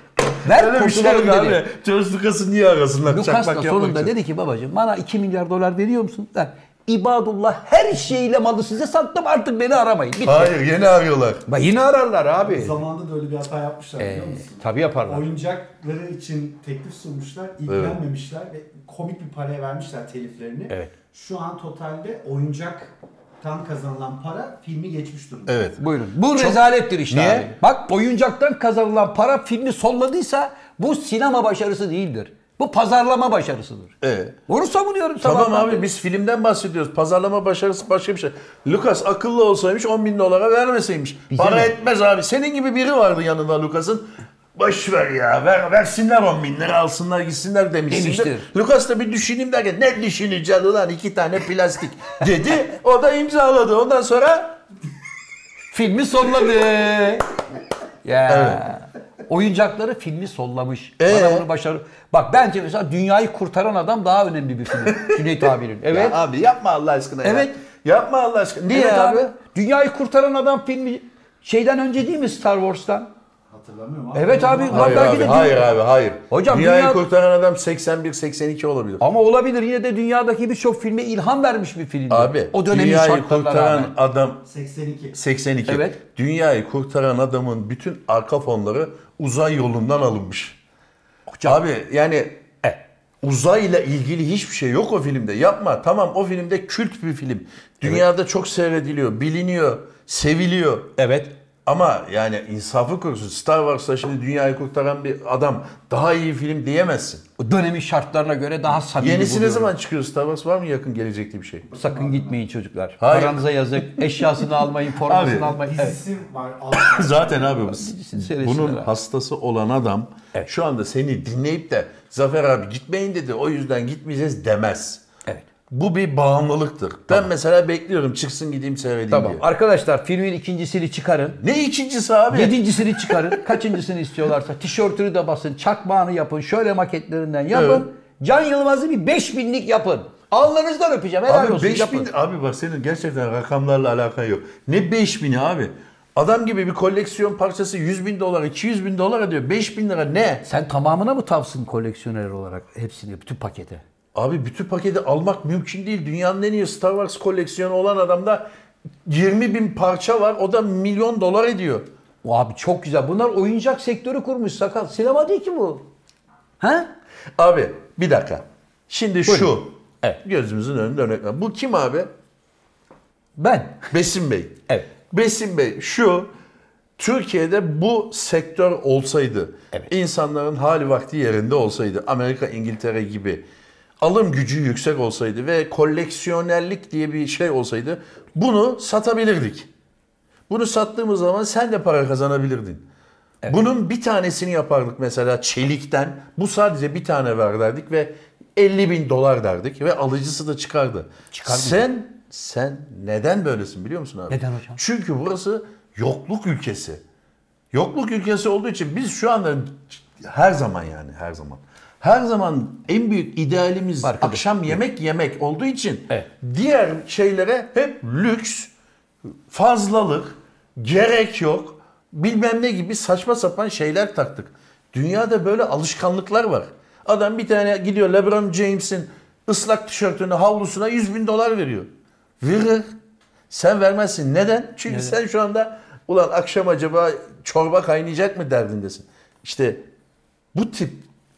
Ver Öyle bir şey yok kurtulalım dedi. abi. George Lucas'ı niye arasınlar? Lucas Çakmak da yapmak sonunda için. dedi ki babacığım bana 2 milyar dolar veriyor musun? Ben, İbadullah her şeyiyle malı size sattım artık beni aramayın. Bitti. Hayır yeni arıyorlar. Bak yine ararlar abi. Zamanında da öyle bir hata yapmışlar biliyor musun? Ee, Tabii yaparlar. Oyuncakları için teklif sunmuşlar, ilgilenmemişler ve komik bir paraya vermişler teliflerini. Evet. Şu an totalde oyuncaktan kazanılan para filmi geçmiş durumda. Evet. Buyurun. Bu rezalettir işte Niye? abi. Bak oyuncaktan kazanılan para filmi solladıysa bu sinema başarısı değildir. Bu pazarlama başarısıdır. Ee, Bunu savunuyorum tamam sabahtan abi beri. biz filmden bahsediyoruz. Pazarlama başarısı başka bir şey. Lucas akıllı olsaymış 10 bin dolara vermeseymiş. Para mi? etmez abi. Senin gibi biri vardı yanında Lucas'ın. Boş ver ya. Ver, versinler 10 bin lira alsınlar gitsinler demişsindir. Demiştir. Lucas da bir düşüneyim derken ne düşüneceğim ulan iki tane plastik *laughs* dedi. O da imzaladı. Ondan sonra Filmi solladı. *laughs* ya. Oyuncakları filmi sollamış. Bana Ee? bunu başarı. Bak bence mesela dünyayı kurtaran adam daha önemli bir *laughs* film. Cüneyt abinin. Evet. Ya abi yapma Allah aşkına ya. Evet. Yapma Allah aşkına. Niye evet abi? abi. Dünyayı kurtaran adam filmi şeyden önce değil mi Star Wars'tan? Hatırlamıyorum Evet abi, Ama- lan Hayır belki abi, de hayır dünya- abi, hayır. Hocam Dünyayı dünya- kurtaran adam 81-82 olabilir. Ama olabilir yine de dünyadaki birçok filme ilham vermiş bir film. Abi o dönemin dünyayı şartlarına kurtaran rağmen. adam 82. 82. Evet. Dünyayı kurtaran adamın bütün arka fonları uzay yolundan alınmış. Abi yani e, uzayla ilgili hiçbir şey yok o filmde. Yapma. Tamam o filmde kült bir film. Dünyada çok seyrediliyor, biliniyor, seviliyor. E, Evet. Ama yani insafı korusun. Star Wars'ta şimdi dünyayı kurtaran bir adam daha iyi film diyemezsin. O dönemin şartlarına göre daha samimi Yenisi ne buluyorum. zaman çıkıyor Star Wars? Var mı yakın gelecekte bir şey? Sakın gitmeyin çocuklar. Hayır. Paranıza *laughs* yazık. Eşyasını almayın, formasını Abi, almayın. *laughs* Evet. Dizisi var. Zaten abi bu- Seyretsinler bunun abi. hastası olan adam şu anda seni dinleyip de Zafer abi gitmeyin dedi o yüzden gitmeyeceğiz demez. Evet. Bu bir bağımlılıktır. Ben mesela bekliyorum çıksın gideyim seyredeyim Tamam. diye. Arkadaşlar filmin ikincisini çıkarın. Ne ikincisi abi? Yedincisini *laughs* çıkarın. Kaçıncısını istiyorlarsa tişörtünü de basın. Çakmağını yapın. Şöyle maketlerinden yapın. Can Yılmaz'ı bir 5000'lik yapın. Alnınızdan öpeceğim. Helal Abi olsun 5000 yapın. abi bak senin gerçekten rakamlarla alakan yok. Ne 5000'i abi? Adam gibi bir koleksiyon parçası 100 bin dolar, 200 bin dolar ediyor. 5 bin lira ne? Sen tamamına mı tavsın koleksiyoner olarak hepsini, bütün pakete? Abi bütün paketi almak mümkün değil. Dünyanın en iyi Star Wars koleksiyonu olan adamda 20 bin parça var. O da milyon dolar ediyor. Abi çok güzel. Bunlar oyuncak sektörü kurmuş sakal. Sinema değil ki bu. He? Abi bir dakika. Şimdi şu. Evet. Gözümüzün önünde örnek var. Bu kim abi? Ben. Besim Bey. Evet. Besim Bey şu. Türkiye'de bu sektör olsaydı, insanların hali vakti yerinde olsaydı, Amerika, İngiltere gibi alım gücü yüksek olsaydı ve koleksiyonellik diye bir şey olsaydı bunu satabilirdik. Bunu sattığımız zaman sen de para kazanabilirdin. Bunun bir tanesini yapardık mesela çelikten. Bu sadece bir tane ver derdik ve 50 bin dolar derdik ve alıcısı da çıkardı. sen sen neden böylesin biliyor musun abi? Neden hocam? Çünkü burası yokluk ülkesi. Yokluk ülkesi olduğu için biz şu anda her zaman yani her zaman her zaman en büyük idealimiz Arkadaş. akşam yemek yemek olduğu için Evet. diğer şeylere hep lüks, fazlalık, gerek yok, bilmem ne gibi saçma sapan şeyler taktık. Dünyada böyle alışkanlıklar var. Adam bir tane gidiyor LeBron James'in ıslak tişörtünü havlusuna 100 bin dolar veriyor. Verir. Sen vermezsin. Neden? Çünkü sen şu anda ulan akşam acaba çorba kaynayacak mı derdindesin. İşte bu tip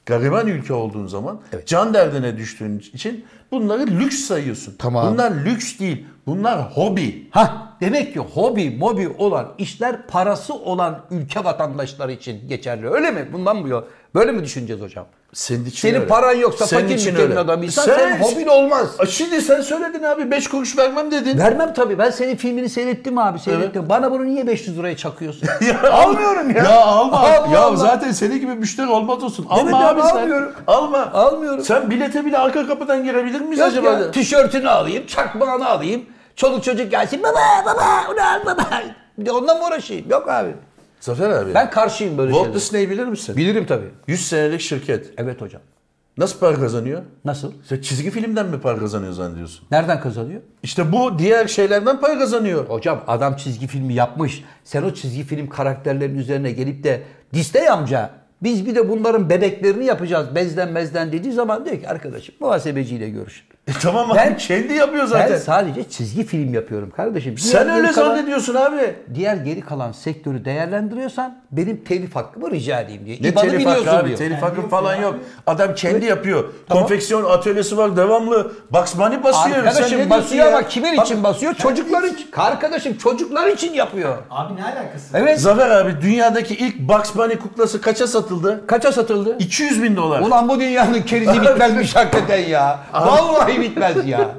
gariban ülke olduğun zaman can derdine düştüğün için bunları lüks sayıyorsun. Tamam. Bunlar lüks değil. Bunlar hobi. Ha demek ki hobi mobi olan işler parası olan ülke vatandaşları için geçerli. Öyle mi? Bundan bu yol. Böyle mi düşüneceğiz hocam? Senin için Senin öyle. paran yoksa Senin fakir için ülkenin öyle. adamıysan Sen- senin hobin olmaz. A, Şimdi sen söyledin abi 5 kuruş vermem dedin. Vermem tabii. Ben senin filmini seyrettim abi seyrettim. Bana bunu niye 500 liraya *laughs* çakıyorsun? *laughs* Almıyorum ya. Ya alma. Alma, ya alma. zaten senin gibi müşteri olmaz olsun. Alma Evet abi abi, sen. almıyorum. Alma. Almıyorum. Sen bilete bile arka kapıdan girebilir miyiz Yok acaba? ya, Tişörtünü alayım, çakmağını alayım. Çoluk çocuk gelsin. Baba baba onu al baba. Bir de onunla mı uğraşayım? Yok abi. Zafer abi. Ben karşıyım böyle Walt şeylere. Disney bilir misin? Bilirim tabii. 100 senelik şirket. Evet hocam. Nasıl para kazanıyor? Nasıl? Sen çizgi filmden mi para kazanıyor zannediyorsun? Nereden kazanıyor? İşte bu diğer şeylerden para kazanıyor. Hocam adam çizgi filmi yapmış. Sen o çizgi film karakterlerinin üzerine gelip de Disney amca biz bir de bunların bebeklerini yapacağız bezden bezden dediği zaman diyor ki arkadaşım muhasebeciyle görüş. E tamam abi Ben- kendi yapıyor Ben zaten. sadece çizgi film yapıyorum kardeşim. Diğer Sen geri öyle kalan- zannediyorsun abi. Diğer geri kalan sektörü değerlendiriyorsan benim telif hakkımı rica edeyim diyor. Ne İBAN'ı telif hakkı biliyorsun abi? diyor. Telif Yani hakkı yok falan ya. yok. Adam kendi yapıyor. Konfeksiyon atölyesi var devamlı. Bugs Bunny basıyor. Sen ne Arkadaşım basıyor diyorsun ama ya? kimin Bak, için basıyor? Çocuklar için. Arkadaşım çocuklar için yapıyor. Abi ne alakası? Evet. Zafer abi dünyadaki ilk Bugs Bunny kuklası kaça satıldı? Kaça satıldı? 200 bin dolar. Ulan bu dünyanın kerizi bitmezmiş hakikaten ya. Vallahi bitmez *laughs* ya.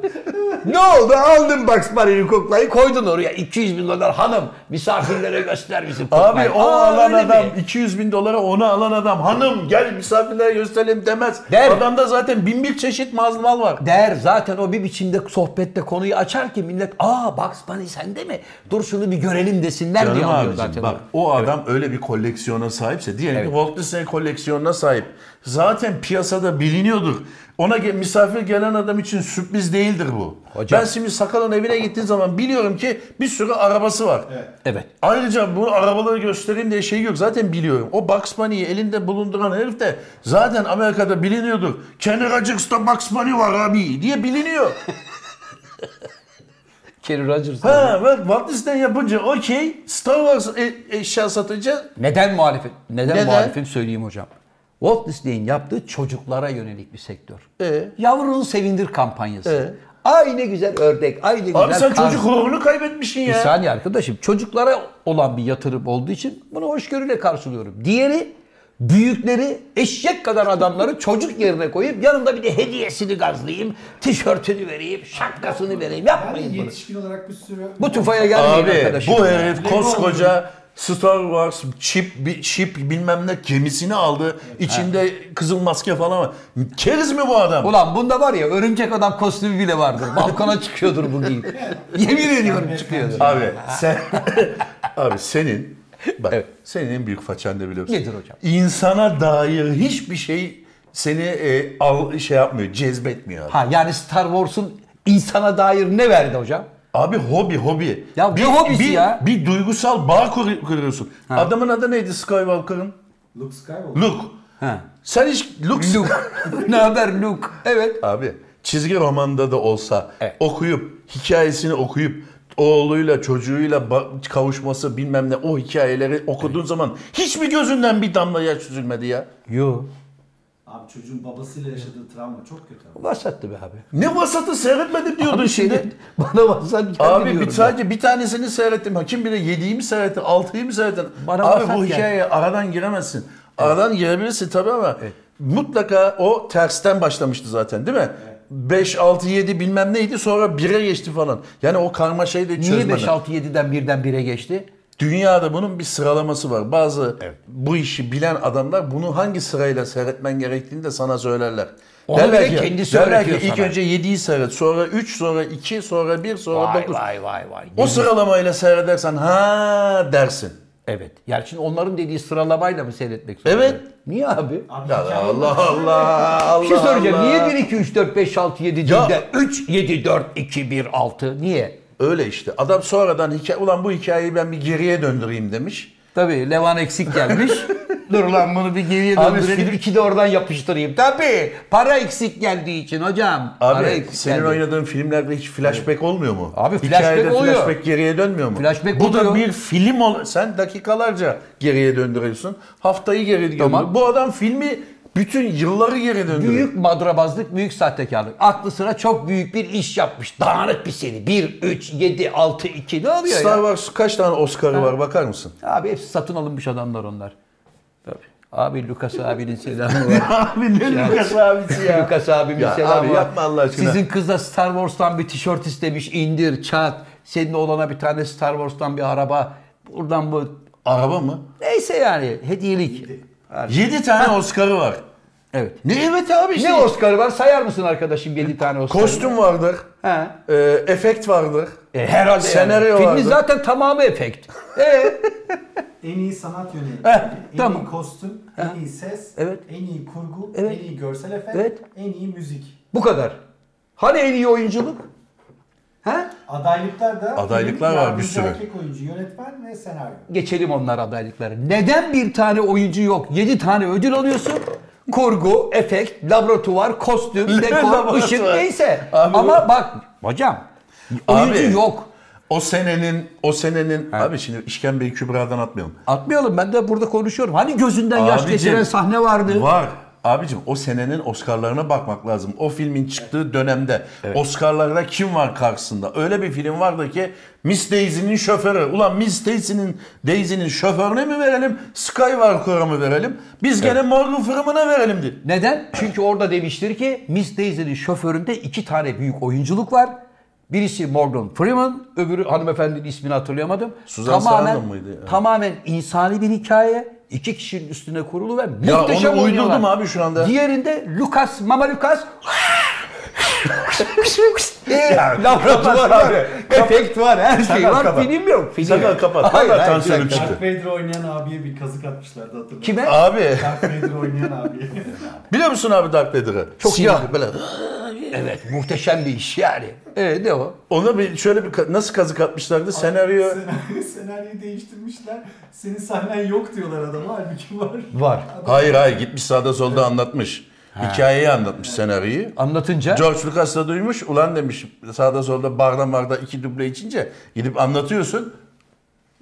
ne oldu? Aldın Bugs Bunny'yi koklayı koydun oraya. 200 bin dolar hanım misafirlere göster bizim koklayı. Abi o Aa, alan öyle mi? adam 200 bin dolara onu alan adam hanım gel misafirlere gösterelim demez. Der. Adamda zaten bin bir çeşit mal mal var. Der zaten o bir biçimde sohbette konuyu açar ki millet aa Bugs Bunny sende mi? Dur şunu bir görelim desinler diye Canım alıyor abicim zaten. bak o adam öyle bir koleksiyona sahipse diyelim ki Walt Disney koleksiyonuna sahip. Zaten piyasada biliniyordur. Ona ge- misafir gelen adam için sürpriz değildir bu. Hocam. Ben şimdi Sakal'ın evine gittiğim zaman biliyorum ki bir sürü arabası var. Evet. Evet. Ayrıca bu arabaları göstereyim diye şey yok. Zaten biliyorum. O Bugs Bunny'yi elinde bulunduran herif de zaten Amerika'da biliniyordur. Kenarcıks'ta Bugs Bunny var abi *laughs* diye biliniyor. Kenny Rogers. ha bak Walt Disney yapınca okey Star Wars e- eşya satınca Neden muhalefet? Neden, Neden? muhalefim söyleyeyim hocam. Walt Disney'in yaptığı çocuklara yönelik bir sektör. Ee? Yavrunu sevindir kampanyası. Ee? Ay ne güzel ördek, ay ne güzel Abi sen kar. çocuk ruhunu kaybetmişsin Bir ya. saniye arkadaşım. Çocuklara olan bir yatırım olduğu için bunu hoşgörüyle karşılıyorum. Diğeri büyükleri eşek kadar adamları çocuk yerine koyup yanında bir de hediyesini gazlayayım, tişörtünü vereyim, şapkasını vereyim. Yani Yapmayın bunu. yetişkin olarak bir sürü... Bu tufaya gelmeyin Abi arkadaşım. bu ya. herif Lego koskoca Star Wars chip, bi- chip bilmem ne gemisini aldı. İçinde kızıl maske falan var. Keriz mi bu adam? Ulan bunda var ya örümcek adam kostümü bile *laughs* vardır. Balkona çıkıyordur bu giyip. Yemin ediyorum çıkıyordur. Abi sen *laughs* abi senin bak senin en büyük façan ne biliyor musun? Nedir hocam? İnsana dair hiçbir şey seni e, al şey yapmıyor, cezbetmiyor abi. Ha yani Star Wars'un insana dair ne verdi hocam? Abi hobi hobi. Ya ne hobisi bir, ya? Bir duygusal bağ kur- kuruyorsun. Adamın adı neydi Skywalker'ın? Luke Skywalker. Luke. Ha. Sen hiç Luke Luke. *laughs* ne haber Luke? Evet. Abi çizgi romanda da olsa Evet. okuyup hikayesini okuyup oğluyla çocuğuyla ba- kavuşması bilmem ne o hikayeleri okuduğun zaman hiç mi gözünden bir damla yaş süzülmedi ya? Yo. Abi çocuğun babasıyla yaşadığı travma çok kötü. ama. Vasattı be abi. Ne vasatı seyretmedim diyordun Abi *laughs* şimdi. seni- Bana vasat geldi Abi diyorum bir, sadece bir tanesini seyrettim. Ha, Kim bilir yediği mi seyrettin, altıyı mı seyrettin? Bana Abi vasat bu geldi. hikayeye aradan giremezsin. Aradan girebilirsin tabii ama mutlaka o tersten başlamıştı zaten değil mi? 5, 6, 7 bilmem neydi sonra 1'e geçti falan. Yani o karmaşayı da ya. Niye çözmeden. 5 6 7'den birden 1'e geçti? Dünyada bunun bir sıralaması var. Bazı bu işi bilen adamlar bunu hangi sırayla seyretmen gerektiğini de sana söylerler. Onu bile kendisi derler ki öğretiyor ilk sana. önce 7'yi seyret, sonra 3, sonra 2, sonra 1, sonra Vay 9. vay vay vay. O sıralamayla seyredersen ha dersin. Evet. Yani şimdi onların dediği sıralamayla mı seyretmek zorunda? Evet. Niye abi? Abi Ya hikaye- Allah Allah Allah. Bir şey soracağım. Allah. Niye 1 2 3 4 5 6 7 Ya- değil de 3 7 4 2 1 6? Niye? Öyle işte. Adam sonradan hikaye ulan bu hikayeyi ben bir geriye döndüreyim demiş. *laughs* Tabii Levan eksik gelmiş. Dur lan bunu bir geriye Abi döndürelim. film- iki de oradan yapıştırayım. Tabii. Para eksik geldiği için hocam. para Abi eksik senin geldi. oynadığın filmlerde hiç flashback olmuyor mu? Abi Hikayede flashback oluyor. flashback geriye dönmüyor mu? Flashback Bu da oluyor. bir film ol. Sen dakikalarca geriye döndürüyorsun. Haftayı geri Tamam. döndürüyorsun. Bu adam filmi bütün yılları geri döndürüyor. Büyük madrabazlık, büyük sahtekarlık. Aklı sıra çok büyük bir iş yapmış. Dağınık bir seri. 1, 3, 7, 6, 2 ne oluyor Star ya? Wars kaç tane Oscar'ı var bakar mısın? Abi hepsi satın alınmış adamlar onlar. Tabii. Abi Lucas abinin *laughs* selamı var. Abi ne Lucas abisi Lucas abimin Ya selamı abi var. yapma Allah aşkına. Sizin kız da Star Wars'tan bir tişört istemiş. indir, çat. Senin oğlana bir tane Star Wars'tan bir araba. Buradan bu. Araba mı? Neyse yani hediyelik. şey. 7 tane Oscar'ı var. Evet. Ne evet abi işte. Ne Oscar'ı var? Sayar mısın arkadaşım 7 tane Oscar? Kostüm vardır. He. e, efekt vardır. E, herhalde Senaryo yani. vardı. Filmin zaten tamamı *laughs* efekt. E, En iyi sanat yönetimi, en Eh, tamam. Eh. iyi kostüm, en iyi ses, Evet. en iyi kurgu, Evet. en iyi görsel efekt, Evet. en iyi müzik. bu kadar. Hani en iyi oyunculuk? He? Adaylıklar da Adaylıklar film, var bir yardımcı sürü. Erkek oyuncu, yönetmen ve senaryo. Geçelim onlar adaylıkları. Neden bir tane oyuncu yok? 7 tane ödül alıyorsun. Kurgu, efekt, laboratuvar, *laughs* kostüm, dekor, Laboratuvar. ışık neyse. Abi Ama bak hocam oyuncu Abi. yok. O senenin, o senenin... Abi şimdi işkembeyi kübradan atmayalım. Atmayalım ben de burada konuşuyorum. Hani gözünden yaş Abicim, geçiren sahne vardı. Var. Abicim o senenin Oscar'larına bakmak lazım. O filmin çıktığı dönemde Oscar'larda kim var karşısında? Öyle bir film vardı ki Miss Daisy'nin şoförü. Ulan Miss Daisy'nin Daisy'nin şoförüne mi verelim? Skywalker'a mı verelim? Biz gene Morgan Freeman'a verelim diye. Neden? Çünkü orada demiştir ki Miss Daisy'nin şoföründe iki tane büyük oyunculuk var. Birisi Morgan Freeman, öbürü hanımefendinin ismini hatırlayamadım. Suzan tamamen, Sarandon muydu? Evet. Tamamen insani bir hikaye. iki kişinin üstüne kurulu ve Ya muhteşem onu oynuyorlar. uydurdum abi şu anda. Diğerinde Lucas, Mama *laughs* Lucas. Ya, Laboratuvar kapat abi. abi. Efekt var, her şey Sakal var. kapat. Film yok. Film Sakal yok. kapat. Hayır, Vallahi hayır, tansiyonum bir dakika. çıktı. Darth Vader oynayan abiye bir kazık atmışlardı hatırlıyorum. Kime? Abi Darth Vader oynayan abiye. *laughs* biliyor musun abi Dark Vader'ı? Çok Siyah iyi. böyle. Evet, muhteşem bir iş yani. Evet, ne o? Ona bir şöyle bir ka- nasıl kazık atmışlardı? Senaryo Senaryo, senaryoyu değiştirmişler. Senin sahnen yok diyorlar adama halbuki var. Var. Hayır hayır gitmiş sağda solda anlatmış. Hikayeyi anlatmış senaryoyu. Anlatınca George Lucas da duymuş. Ulan demiş sağda solda barda barda iki duble içince gidip anlatıyorsun.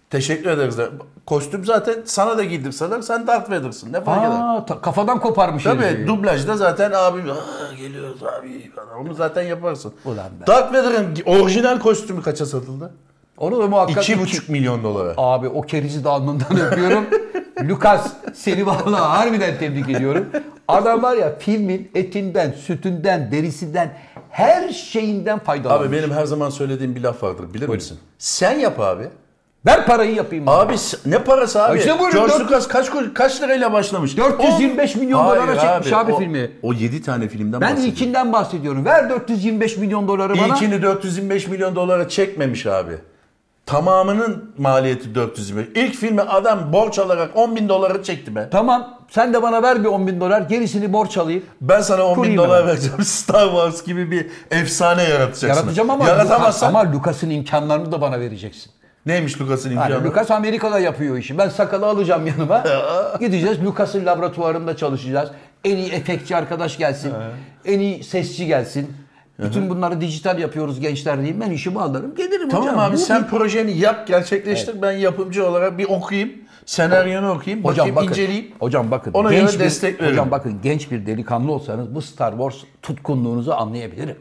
Teşekkür ederiz. de. Kostüm zaten sana da giydirseler sen Darth Vader'sın. Ne fark eder? Aa, Şey. ta- kafadan koparmış. Tabii herifi. dublajda zaten abi "Aa, geliyoruz abi. falan." Onu zaten yaparsın. Ulan ben- Darth Vader'ın orijinal kostümü kaça satıldı? Onu da muhakkak... 2,5 milyon dolara. Abi o kerizi de alnından *laughs* öpüyorum. Lucas seni vallahi harbiden tebrik ediyorum. Adam var ya filmin etinden, sütünden, derisinden her şeyinden faydalanmış. Abi benim her zaman söylediğim bir laf vardır bilir misin? Sen yap abi. Ver parayı yapayım. Abi. Abi s- ne parası abi? İşte buyurun, George dört- Lucas kaç kaç lirayla başlamış? 425 milyon Hayır dolara çekmiş abi o- filmi. O 7 tane Ben filmden bahsediyorum. ilkinden bahsediyorum. Ver 425 milyon doları bana. İlkini 425 milyon dolara çekmemiş abi. Tamamının maliyeti 425. İlk filmi adam borç alarak 10 bin dolara çekti be. Tamam sen de bana ver bir 10 bin dolar gerisini borç alayım. Ben sana 10 bin Kurayım dolar hemen. vereceğim. *laughs* Star Wars gibi bir efsane yaratacaksın. Yaratacağım ama, Yaratamazsan ama Lucas'ın imkanlarını da bana vereceksin. neymiş Lucas'ın Yani imkanı? Lucas Amerika'da yapıyor işi. Ben sakalı alacağım *laughs* yanıma. Gideceğiz Lucas'ın laboratuvarında çalışacağız. En iyi efektçi arkadaş gelsin. en iyi sesçi gelsin. Bütün bunları dijital yapıyoruz gençler diyeyim. Ben işimi alırım gelirim Tamam hocam. abi Bu sen bir- projeni yap gerçekleştir. Ben yapımcı olarak bir okuyayım. Senaryonu okuyayım. Hocam bakayım bakın, inceleyeyim. hocam bakın Ona genç bir, göre destek veririm. Hocam bakın genç bir delikanlı olsanız bu Star Wars tutkunluğunuzu anlayabilirim.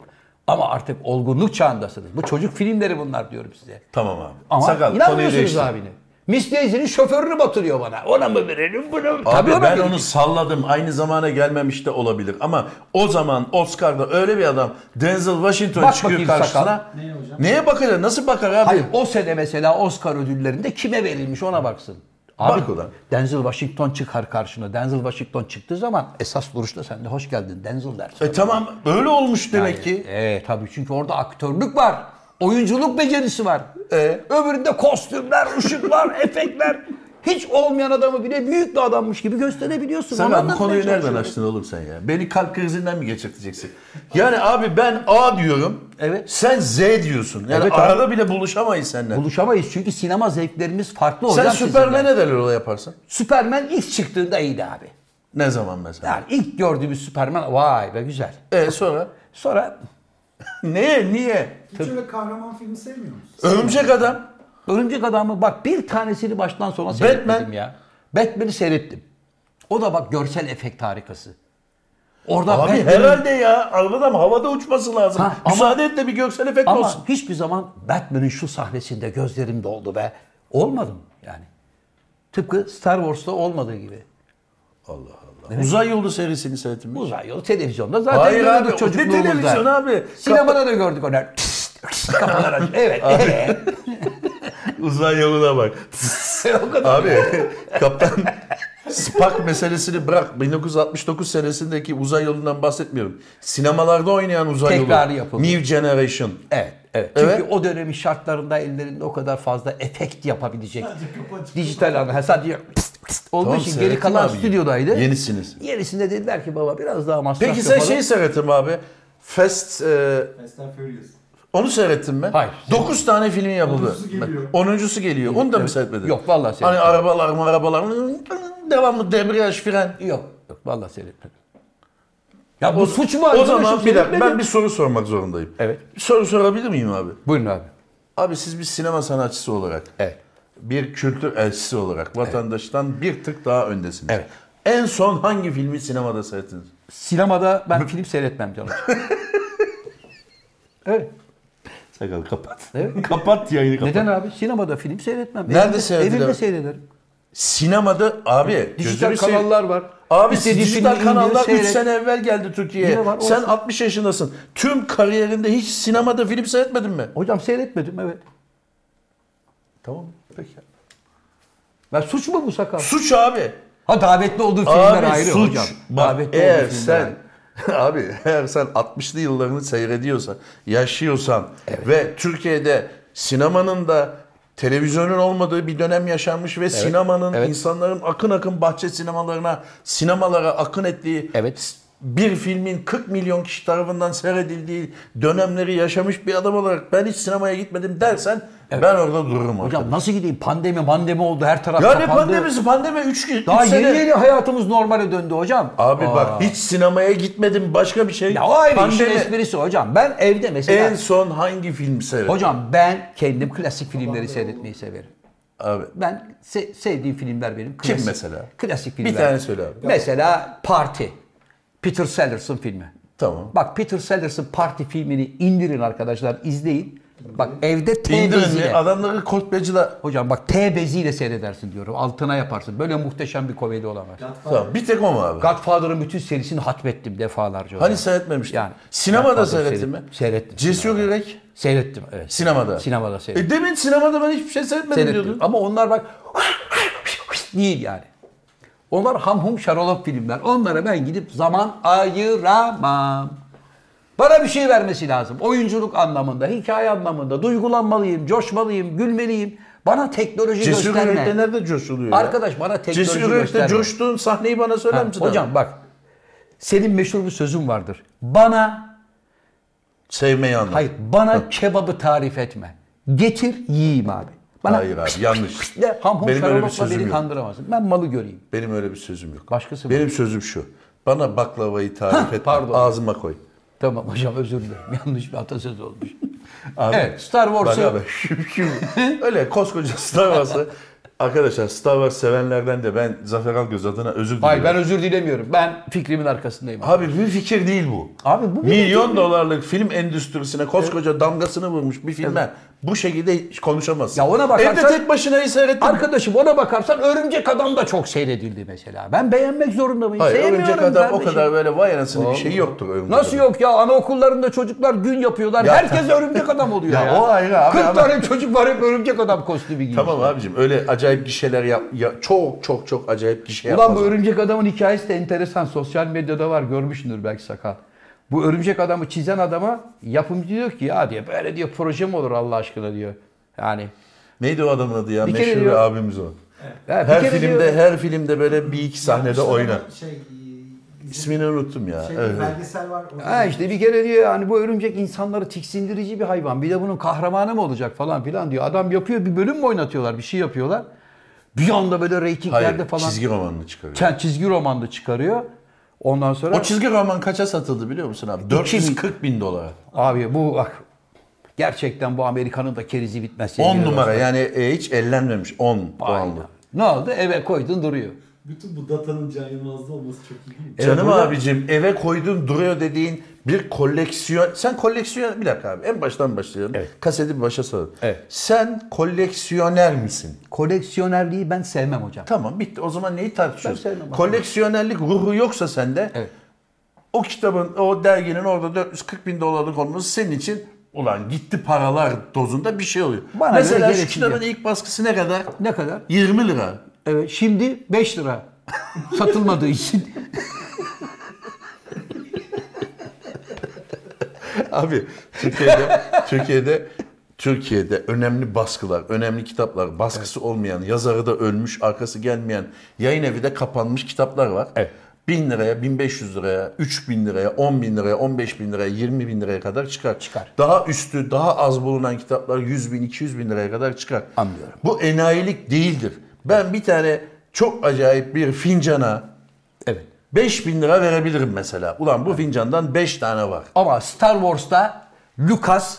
Ama artık olgunluk çağındasınız. Bu çocuk filmleri bunlar diyorum size. Tamam abi. Ama Sakal konuyu inanmıyorsunuz değiştir. Abi, abine. Miss Daisy'nin şoförünü batırıyor bana. Ona mı verelim bunu? mu? ona ben verelim. onu salladım. Aynı zamana gelmemiş de olabilir. Ama o zaman Oscar'da öyle bir adam Denzel Washington Bak çıkıyor bakayım karşısına. Neye hocam? Neye bakacak? Nasıl bakar abi? Hayır o sene mesela Oscar ödüllerinde kime verilmiş ona baksın. Abi Bak ulan. Denzel Washington çıkar karşına. Denzel Washington çıktığı zaman esas duruşta sen de hoş geldin Denzel dersin. E tamam öyle olmuş demek ki. E tabii çünkü orada aktörlük var. Oyunculuk becerisi var. E, öbüründe kostümler, ışıklar, *laughs* efektler. hiç olmayan adamı bile büyük bir adammış gibi gösterebiliyorsun. Sen Onu abi bu anlatmaya konuyu nereden çalışıyorum. açtın oğlum sen ya? Beni kalp krizinden mi geçirteceksin? Yani abi ben A diyorum. Evet. Sen Z diyorsun. Yani Evet abi. arada bile buluşamayız seninle. Buluşamayız çünkü sinema zevklerimiz farklı sen olacak. Süpermen'e de öyle yaparsan. Süpermen ilk çıktığında iyiydi abi. Ne zaman mesela? Yani ilk gördüğümüz Süpermen vay be güzel. E sonra? Sonra Neye? Niye? Hiç öyle kahraman filmi sevmiyor musun? Örümcek adam. Örümcek Adam'ı bak bir tanesini baştan sona seyretmedim ya. Batman'i seyrettim. O da bak görsel efekt harikası. Orada Abi Batman'in- herhalde ya. Arabadan havada uçması lazım. Ha, ama- Müsaade et de bir görsel efekt Ama olsun. hiçbir zaman Batman'in şu sahnesinde gözlerim doldu be. Olmadı mı yani? Tıpkı Star Wars'ta olmadığı gibi. Uzay yolu serisini seyrettin mi? Uzay yolu televizyonda zaten Hayır gördük abi. o Ne çocukluğumuzda. televizyon abi? Sinemada da gördük onu. Kafalar aç. Evet. evet. *laughs* Uzay yoluna bak. *laughs* Abi kaptan Spark meselesini bırak. 1969 senesindeki uzay yolundan bahsetmiyorum. Sinemalarda oynayan uzay Tekrar E, yolu. yapıldı. New Generation. *laughs* Evet, evet. Çünkü Evet. o dönemin şartlarında ellerinde o kadar fazla efekt yapabilecek kapatıyor. dijital anı sadece pıst pıst olduğu Tamam, için geri seyrettim kalan abi. stüdyodaydı. Yenisiniz. Yenisinde dediler ki baba biraz daha masraf Peki sen şey yapalım. şeyi seyrettin mi abi? Fast e, Fast and Furious. onu seyrettin mi? Hayır. 9 tane filmi yapıldı. Onuncusu geliyor. Onuncusu geliyor. Onu da mı seyretmedin? Yok, vallahi Hani seyretmedim. arabalar mı arabalar mı? devamlı debriyaj fren. Yok, yok vallahi seyretmedim. Ya bu suç mu O arkadaşım? zaman bir dakika ben Seyretmedim. bir soru sormak zorundayım. Evet. Bir soru sorabilir miyim abi? Buyurun abi. Abi siz bir sinema sanatçısı olarak, Evet. bir kültür elçisi olarak vatandaştan bir tık daha öndesiniz. Evet. En son hangi filmi sinemada seyrettiniz? Sinemada *laughs* ben film seyretmem canım. *laughs* evet. Sakal kapat. Evet. *laughs* kapat yayını kapat. Neden abi? Sinemada film seyretmem. Nerede Evimde- seyredilir? Evimde seyrederim. Sinemada abi Dijital gözünü seveyim. kanallar var. Abi İstediği dijital filmi indiriyor, kanallar 3 seyret. sene evvel geldi Türkiye'ye. Yine var, Sen olsun. 60 yaşındasın. Tüm kariyerinde hiç sinemada film seyretmedin mi? Hocam seyretmedim evet. Tamam. Peki. Ben suç mu bu sakal? Suç abi. Ha davetli olduğu filmler Abi ayrı suç. hocam. Bak, davetli olduğu eğer filmler sen *laughs* ayrı. abi eğer sen 60'lı yıllarını seyrediyorsan, yaşıyorsan ve Türkiye'de sinemanın da televizyonun olmadığı bir dönem yaşanmış ve sinemanın evet. insanların akın akın bahçe sinemalarına, sinemalara akın ettiği Evet. bir filmin 40 milyon kişi tarafından seyredildiği dönemleri yaşamış bir adam olarak ben hiç sinemaya gitmedim dersen ben orada dururum. Hocam nasıl gideyim? Pandemi mandemi oldu her taraf ya ne kapandı. pandemisi pandemi 3 gün. Daha üç yeni sene- yeni hayatımız normale döndü hocam. Abi bak hiç sinemaya gitmedim başka bir şey. Ya o ayrı işin Pandemi. esprisi hocam. Ben evde mesela... En son hangi film seyrettin? Hocam ben kendim klasik filmleri seyretmeyi severim. Abi Ben se- sevdiğim filmler benim. Klasik. mesela? Klasik Bir filmler. tane söyle abi. Mesela Parti. Peter Sellers'ın filmi. tamam. Bak Peter Sellers'ın Parti filmini indirin arkadaşlar izleyin. Bak evde T İndirin mi? beziyle. Adamları korkmacılar. Hocam bak T beziyle seyredersin diyorum. Altına yaparsın. Böyle muhteşem bir komedi olamaz. Godfather. Tamam bir tek o mu abi? Godfather'ın bütün serisini hatmettim defalarca. hocam. hani seyretmemiştin? Yani. Sinemada Godfather seyrettin mi? seyret- seyrettim. Cesur Yürek Seyrettim evet. sinemada. Sinemada seyrettim. E demin sinemada ben hiçbir şey seyretmedim seyrettim. diyordun. Ama onlar bak *laughs* değil yani. Onlar hamhum şarolop filmler. Onlara ben gidip zaman ayıramam. Bana bir şey vermesi lazım. Oyunculuk anlamında, hikaye anlamında. Duygulanmalıyım, coşmalıyım, gülmeliyim. Bana teknoloji Cesur Yürek'te gösterme. nerede coşuluyor ya? Arkadaş bana teknoloji Cesur Yürek'te gösterme. coştuğun sahneyi bana Ha, söyler misin? abi? hocam bak. Senin meşhur bir sözün vardır. Bana, Sevmeyi anlat. hayır bana kebabı tarif etme. Getir yiyeyim abi. Bana Hayır abi yanlış. de hamhum Benim öyle bir şarolopla sözüm beni yok. kandıramazsın. Ben malı göreyim. Benim öyle bir sözüm yok. Başkası mı? Benim sözüm şu. Bana baklavayı tarif et. pardon. Ağzıma koy. Tamam hocam özür dilerim. *laughs* Yanlış bir atasöz olmuş. *laughs* Abi, evet Star Bak Wars'ı abi şu- şu- öyle koskoca *laughs* Star Wars'ı arkadaşlar Star Wars sevenlerden de ben Zafer Algöz adına özür *laughs* diliyorum. Hayır ben özür dilemiyorum. Ben fikrimin arkasındayım. Abi bir fikir değil bu. Abi bu bir Milyon dolarlık film endüstrisine koskoca damgasını vurmuş bir filme bu şekilde hiç konuşamazsın. Ya ona bakarsan- Evde tek başına seyrettim. Arkadaşım ona bakarsan Örümcek Adam da çok seyredildi mesela. Ben beğenmek zorunda mıyım? Hayır Sevmiyorum Örümcek Adam o kardeşim. kadar böyle vay anasını bir şey yoktur Örümcek Nasıl Adam. yok ya? Anaokullarında çocuklar gün yapıyorlar. Ya- Herkes örümcek adam oluyor Ya ya. o ayrı abi 40 ama- tane çocuk var hep örümcek adam kostümü giymiş. Tamam abicim öyle acayip gişeler yap, ya- çok çok çok acayip gişe Ulan yapmaz. bu örümcek adamın hikayesi de enteresan. Sosyal medyada var görmüşsündür belki sakal. Bu örümcek adamı çizen adama yapımcı diyor ki ya diyor böyle diyor proje mi olur Allah aşkına diyor. Yani Neydi o adamın adı ya? Bir kere Meşhur bir diyor- abimiz o. Ya bir Her kere filmde diyor- her filmde böyle bir iki sahnede Yapmışlar oynar. ama Şey, İsmini İsmini unuttum ya. şey, Evet. belgesel var. orada. Ha işte bir kere diyor yani bu örümcek insanları tiksindirici bir hayvan. Bir de bunun kahramanı mı olacak falan filan diyor. Adam yapıyor bir bölüm mü oynatıyorlar bir şey yapıyorlar. Bir anda böyle reytinglerde Hayır, falan. çizgi romanını çıkarıyor. Çen- çizgi romanda çıkarıyor. Ondan sonra O çizgi roman kaça satıldı biliyor musun abi? 440 bin dolara. abi bu bak gerçekten bu Amerika'nın da kerizi bitmez. sevgili 10 numara dostlar. yani e, hiç ellenmemiş 10 Aynen. puanlı. Ne oldu? Eve koydun duruyor. Bütün bu datanın Can Yılmaz'da olması çok iyi değil mi? Evet, Canım burada- abicim eve koydun duruyor dediğin bir koleksiyon. Sen koleksiyon bir dakika abi en baştan başlayalım. Kaseti bir başa saralım. Evet. Sen koleksiyoner misin? Koleksiyonerliği ben sevmem hocam. Tamam bitti. O zaman neyi tartışıyoruz? Ben sevmem. Koleksiyonerlik ruhu yoksa sende Evet. o kitabın, o derginin orada 440 bin dolarlık olması senin için ulan gitti paralar dozunda bir şey oluyor. Bana göre Mesela şu gereksiz kitabın ilk baskısı ne kadar? Ne kadar? 20 lira. Evet, Ee, şimdi 5 *laughs* lira satılmadığı için. *laughs* Abi Türkiye'de Türkiye'de Türkiye'de önemli baskılar, önemli kitaplar, baskısı olmayan, yazarı da ölmüş, arkası gelmeyen, yayın evi de kapanmış kitaplar var. Evet. 1000 liraya, 1500 liraya, 3000 liraya, 10 bin liraya, 15 bin liraya, 20 bin liraya kadar çıkar. Çıkar. Daha üstü, daha az bulunan kitaplar 100 bin, 200 bin liraya kadar çıkar. Anlıyorum. Bu enayilik değildir. Ben bir tane çok acayip bir fincana Evet. 5000 lira verebilirim mesela. Ulan bu fincandan 5 tane var. Ama Star Wars'ta Lucas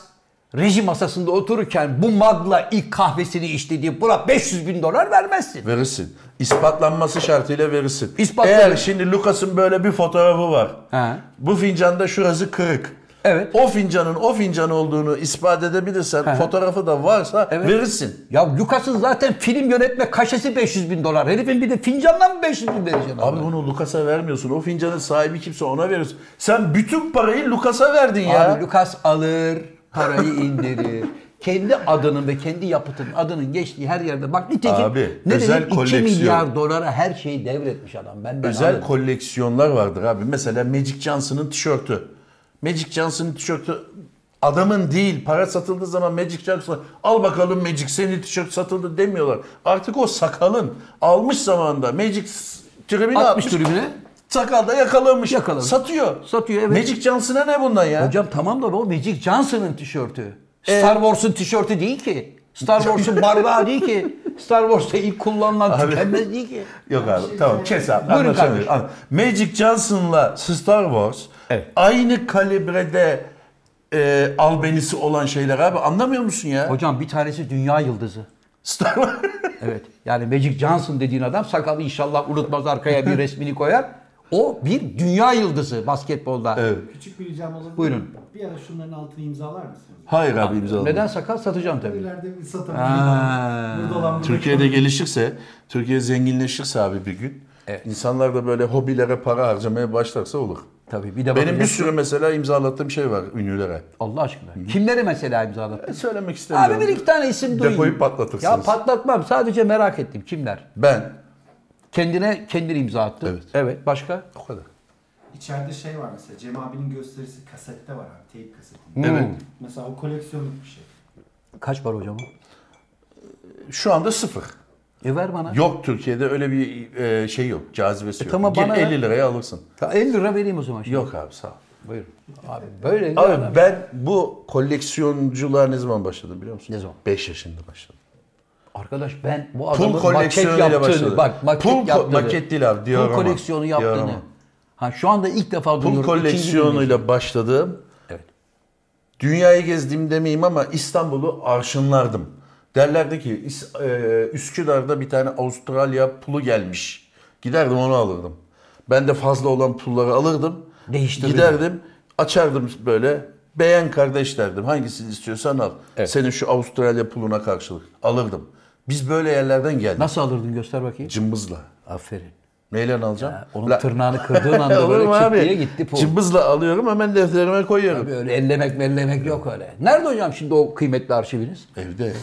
reji masasında otururken bu Magla ilk kahvesini içti diye buna 500 bin dolar vermezsin. Verirsin. İspatlanması şartıyla verirsin. İspatla- Eğer şimdi Lucas'ın böyle bir fotoğrafı var. He. Bu fincanda şurası kırık. Evet. O fincanın o fincan olduğunu ispat edebilirsen, fotoğrafı da varsa Evet. verirsin. Ya Lucas'ın zaten film yönetme kaşesi 500 bin dolar. Herifin bir de fincandan mı 500 bin vereceksin? Abi bunu Lucas'a vermiyorsun. O fincanın sahibi kimse ona veriyorsun. Sen bütün parayı Lucas'a verdin ya. Abi Lucas alır, parayı *laughs* indirir. kendi adının ve kendi yapıtının adının geçtiği her yerde. Bak nitekim Abi, ne özel dedim 2 koleksiyon. milyar dolara her şeyi devretmiş adam. Benden Özel alın. koleksiyonlar vardır abi. Mesela Magic Johnson'ın tişörtü. Magic Johnson'ın tişörtü adamın değil. Para satıldığı zaman Magic Johnson al bakalım Magic senin tişört satıldı demiyorlar. Artık o sakalın almış zamanda Magic s- tribüne atmış. 60 tribüne. Sakal da yakalamış. Yakalamış. Satıyor. Satıyor, evet. Magic Johnson'a ne bundan ya? Hocam tamam da o Magic Johnson'ın tişörtü. Ee? Star Wars'un tişörtü değil ki. Star Wars'un bardağı değil ki. Star Wars'ta ilk kullanılan Abi. tükenmez değil ki. Yok abi tamam kes abi. Buyurun Anlaşamıyoruz. An- Magic Johnson'la Star Wars Evet. aynı kalibrede e, albenisi olan şeyler abi anlamıyor musun ya? Hocam bir tanesi dünya yıldızı. Star Wars. Evet. Yani Magic Johnson dediğin adam sakalı inşallah unutmaz arkaya *laughs* bir resmini koyar. O bir dünya yıldızı basketbolda. Evet. Küçük bir ricam olabilir. mi? Buyurun. Bir ara şunların altını imzalar mısınız? Hayır abi imzaladım. Neden sakal satacaksın tabii. İleride bir Ha. satabiliriz. Burada olan burada Türkiye'de gelişirse, Türkiye zenginleşirse abi bir gün insanlar da böyle hobilere para harcamaya başlarsa olur. Tabii bir de Benim bir bakacaksın. sürü mesela imzalattığım şey var ünlülere. Allah aşkına. Kimleri mesela imzalattın? E, Söylemek istemiyorum. Abi bir iki tane isim duyayım. Depoyu patlatırsınız. Ya patlatmam. Sadece merak ettim. Kimler? Ben. Kendine kendin imza attın. Evet. evet. Başka? O kadar. İçeride şey var mesela Cem abinin gösterisi kasette var abi teyp kasetinde. Evet. Mesela o koleksiyonluk bir şey. Kaç var hocam? o? Şu anda sıfır. E ver bana. Yok Türkiye'de öyle bir e, şey yok. Cazibesi yok. tamam, Gir bana ver. 50 liraya alırsın. Ta 50 lira vereyim o zaman. Şimdi. Yok abi sağ ol. Buyurun. Abi böyle bir adam. Abi ben bu koleksiyoncular ne zaman başladım biliyor musun? Ne zaman? 5 yaşında başladım. Arkadaş ben bu Pul adamın maket koleksiyonuyla yaptığını, başladı. bak maket Pul ko- yaptığını, maket değil abi, diyorum pul ama. koleksiyonu Diyorum yaptığını. ama. Ha şu anda ilk defa Pul duyuyorum. ikinci dinleyicim. koleksiyonuyla başladım. Evet. Dünyayı gezdim demeyeyim ama İstanbul'u arşınlardım. Derlerdi ki İs- e, Üsküdar'da bir tane Avustralya pulu gelmiş. Giderdim onu alırdım. Ben de fazla olan pulları alırdım. Değiştirirdim. Giderdim açardım böyle beğen kardeş derdim. Hangisini istiyorsan al. Senin şu Avustralya puluna karşılık alırdım. Biz böyle yerlerden geldik. Nasıl alırdın göster bakayım. Cımbızla. Aferin. Neyle alacağım? Onun La- *laughs* tırnağını kırdığın anda Olur böyle mu çıt abi? diye gitti pul. Cımbızla alıyorum hemen defterime koyuyorum. Böyle ellemek mellemek yok öyle. Nerede hocam şimdi o kıymetli arşiviniz? *clears throat* Evde.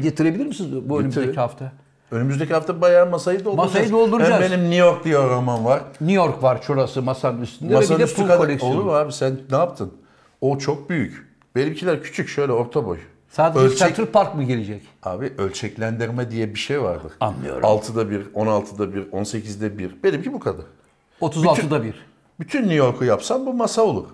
Getirebilir misiniz bu önümüzdeki Getirin. hafta? Önümüzdeki hafta bayağı masayı dolduracağız. Masayı dolduracağız. Hem benim New York diye roman var. New York var şurası masanın üstünde Masanın ve bir de üstü pul kadar- koleksiyonu. Olur mu abi sen ne yaptın? O çok büyük. Benimkiler küçük şöyle orta boy. Sadece Ölçek- Central Park mı gelecek? Abi ölçeklendirme diye bir şey vardır. Anlıyorum. 6'da 1, 16'da 1, 18'de 1. Benimki bu kadar. 36'da 1. Bütün New York'u yapsam bu masa olur.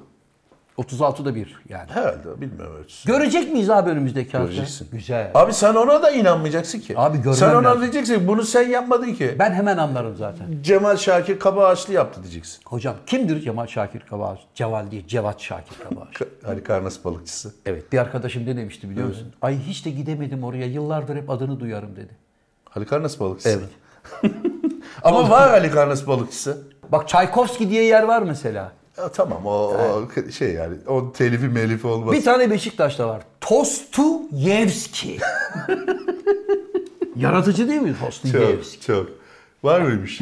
36'da 1 yani. Herhalde bilmiyorum ölçüsü. Görecek miyiz abi önümüzdeki hafta? Göreceksin. Güzel. Abi sen ona da inanmayacaksın ki. Abi görmem Sen ona lazım. diyeceksin ki, bunu sen yapmadın ki. Ben hemen anlarım zaten. Cemal Şakir Kabaağaçlı yaptı diyeceksin. Hocam kimdir Cemal Şakir Kabağaç? Ceval değil, Cevat Şakir *laughs* Kabağaç. Ka- Hani karnas balıkçısı. evet bir arkadaşım ne demişti biliyor musun? Ay hiç de gidemedim oraya yıllardır hep adını duyarım dedi. Halikarnas balıkçısı. Evet. Ama var Halikarnas balıkçısı. Bak Çaykovski diye yer var mesela. Ya tamam o, o şey yani o telifi melifi olmaz. Bir tane Beşiktaş'ta var. *laughs* Tostuyevski. Yaratıcı değil mi Tostuyevski? çok çok. Var mıymış?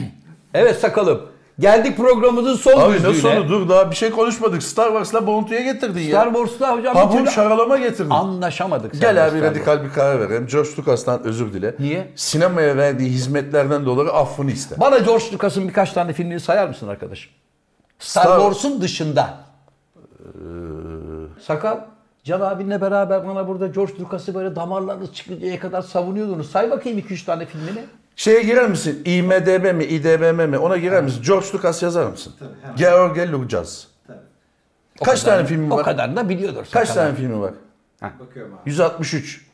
Evet sakalım. Geldik programımızın son Abi düzlüğüne. ne sonu dur daha bir şey konuşmadık. Star Wars'la Bounty'ye getirdin Star ya. Wars'la hocam bir Pabuç türlü şaralama getirdin. anlaşamadık. seninle Gel abi Star Wars. radikal bir karar verelim. George Lucas'tan özür dile. Niye? Sinemaya verdiği hizmetlerden dolayı affını iste. Bana George Lucas'ın birkaç tane filmini sayar mısın arkadaşım? Star, Star- Wars'un dışında. Ee, Sakal, Can abinle beraber bana burada George Lucas'ı böyle damarlarınız çıkıncaya kadar savunuyordunuz. Say bakayım 2-3 tane filmini. Şeye girer misin? IMDB mi, IDBM mi? Ona girer misin? George Lucas yazar mısın? Tabii, hemen. George Lucas. Tabii. Kaç tane filmi O var? kadar da biliyordur. Kaç Sakal. tane filmi var? Bakıyorum abi. 163.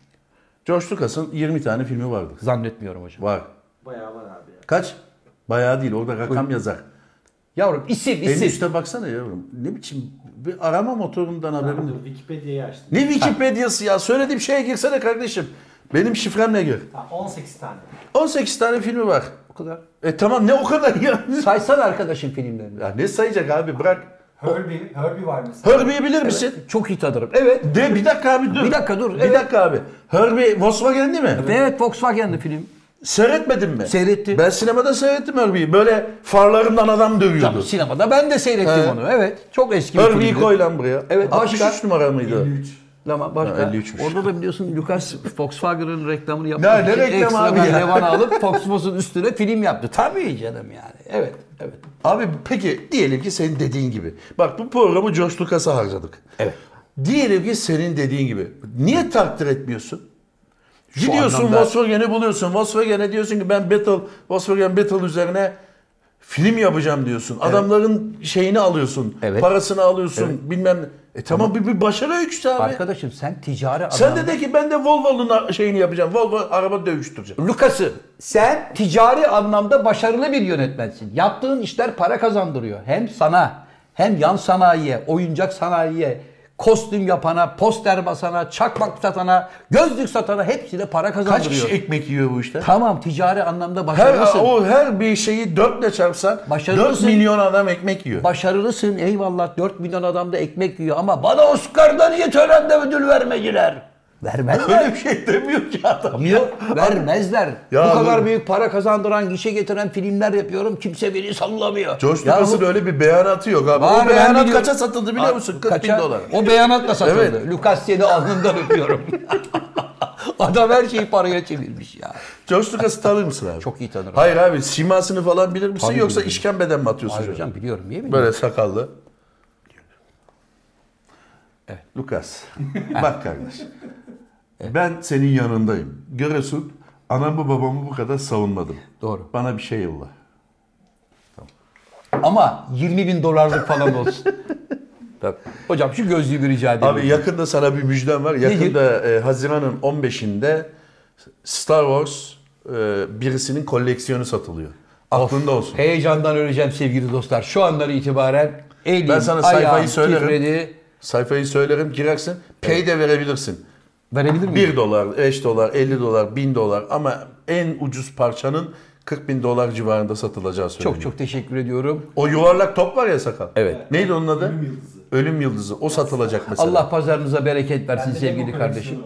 George Lucas'ın 20 tane filmi vardır. Zannetmiyorum hocam. Var. Bayağı var abi ya. Kaç? Bayağı değil. Orada rakam yazar. Yavrum isim En isim. üste baksana yavrum. Ne biçim bir arama motorundan haberim yok. Dur Wikipedia'yı açtım. Ne Wikipedia'sı ya? Söylediğim şeye girsene kardeşim. Benim şifremle gir. Tamam, 18 tane. 18 tane filmi var. O kadar. E tamam ne o kadar ya? *laughs* Saysana arkadaşın filmlerini. ya ne sayacak abi bırak. Herbie, Herbie var mesela. Herbie'yi bilir misin? Çok iyi tanırım. Evet. De bir dakika abi dur. Bir dakika dur, Bir evet. dakika abi. Herbie Volkswagen değil mi? Evet Volkswagen'li film. Seyretmedin mi? Seyrettim. Ben sinemada seyrettim Herbie'yi. Böyle farlarından adam Tabii dövüyordu. sinemada ben de seyrettim He. onu. Evet. Çok eski bir Herbie'yi filmdi. koy lan buraya. Evet, 63 başka? numara mıydı? 53. Ama başka. Ha, 53'müş. Orada da biliyorsun Lucas Volkswagen'ın reklamını Ya yapmak ne için reklam ekstra abi bir ya? revan alıp Foxboss'un üstüne film yaptı. Tabii canım yani. Evet, evet. Abi peki diyelim ki senin dediğin gibi. Bak bu programı George Lucas'a harcadık. Evet. Diyelim ki senin dediğin gibi. Niye takdir etmiyorsun? Gidiyorsun anlamda- Volkswagen'i buluyorsun. Volkswagen'e diyorsun ki ben Battle, Volkswagen Battle üzerine film yapacağım diyorsun. Adamların şeyini alıyorsun. Evet. Parasını alıyorsun. Bilmem ne. E tamam bir, bir başarı öyküsü abi. Arkadaşım sen ticari adam. Sen de de ki ben de Volvo'nun şeyini yapacağım. Volvo araba dövüştüreceğim. Lucas'ı sen ticari anlamda başarılı bir yönetmensin. Yaptığın işler para kazandırıyor. Hem sana, hem yan sanayiye, oyuncak sanayiye, kostüm yapana, poster basana, çakmak satana, gözlük satana hepsine para Kaç kazandırıyor. kişi ekmek yiyor bu işte? Tamam ticari anlamda Her, başarılısın. o her bir şeyi dörtle çarpsan Başarılısın. 4 milyon adam ekmek yiyor. Başarılısın eyvallah 4 milyon adam da ekmek yiyor ama bana Oscar'dan niye törende ödül vermediler? Vermezler. Öyle bir şey *laughs* demiyor ki adam. Vermezler. Ya Bu kadar dur. büyük para kazandıran, gişe getiren filmler yapıyorum. Kimse beni sallamıyor. George Yahu- Lucas'ın öyle bir beyanatı yok abi. Var, o ben beyanat biliyorum. kaça satıldı biliyor musun? 40 Kaça- bin dolar. O beyanatla satıldı. Evet. Lucas seni alnından öpüyorum. *laughs* Adam her şeyi paraya çevirmiş ya. George Lucas'ı tanır mısın abi? Çok iyi tanırım. Hayır abi simasını falan bilir misin Tabii yoksa bilirim. işkembeden mi atıyorsun? Hayır şöyle? hocam biliyorum. Niye bilmiyorum? Böyle sakallı. Evet. Lucas. Bak kardeş. Ben senin yanındayım. Görüyorsun anamı babamı bu kadar savunmadım. Doğru. Bana bir şey yolla. Ama 20 bin dolarlık falan olsun. *laughs* Tabii. Hocam şu gözlüğü bir rica edeyim. Abi yakında sana bir müjdem var. Yakında e, Haziran'ın 15'inde Star Wars e, birisinin koleksiyonu satılıyor. Aklında olsun. Heyecandan öleceğim sevgili dostlar. Şu andan itibaren elim, Ben sana sayfayı ayağım söylerim. titredi. Sayfayı söylerim girersin. Pay de verebilirsin. Verebilir miyim? 1 dolar, 5 dolar, 50 dolar, 1000 dolar ama en ucuz parçanın 40 bin dolar civarında satılacağı söyleniyor. Çok çok teşekkür ediyorum. O yuvarlak top var ya sakal. Evet. Neydi onun adı? Ölüm Yıldızı. Ölüm yıldızı. O satılacak mesela. Allah pazarınıza bereket versin Bende de sevgili bu kardeşim. koleksiyonu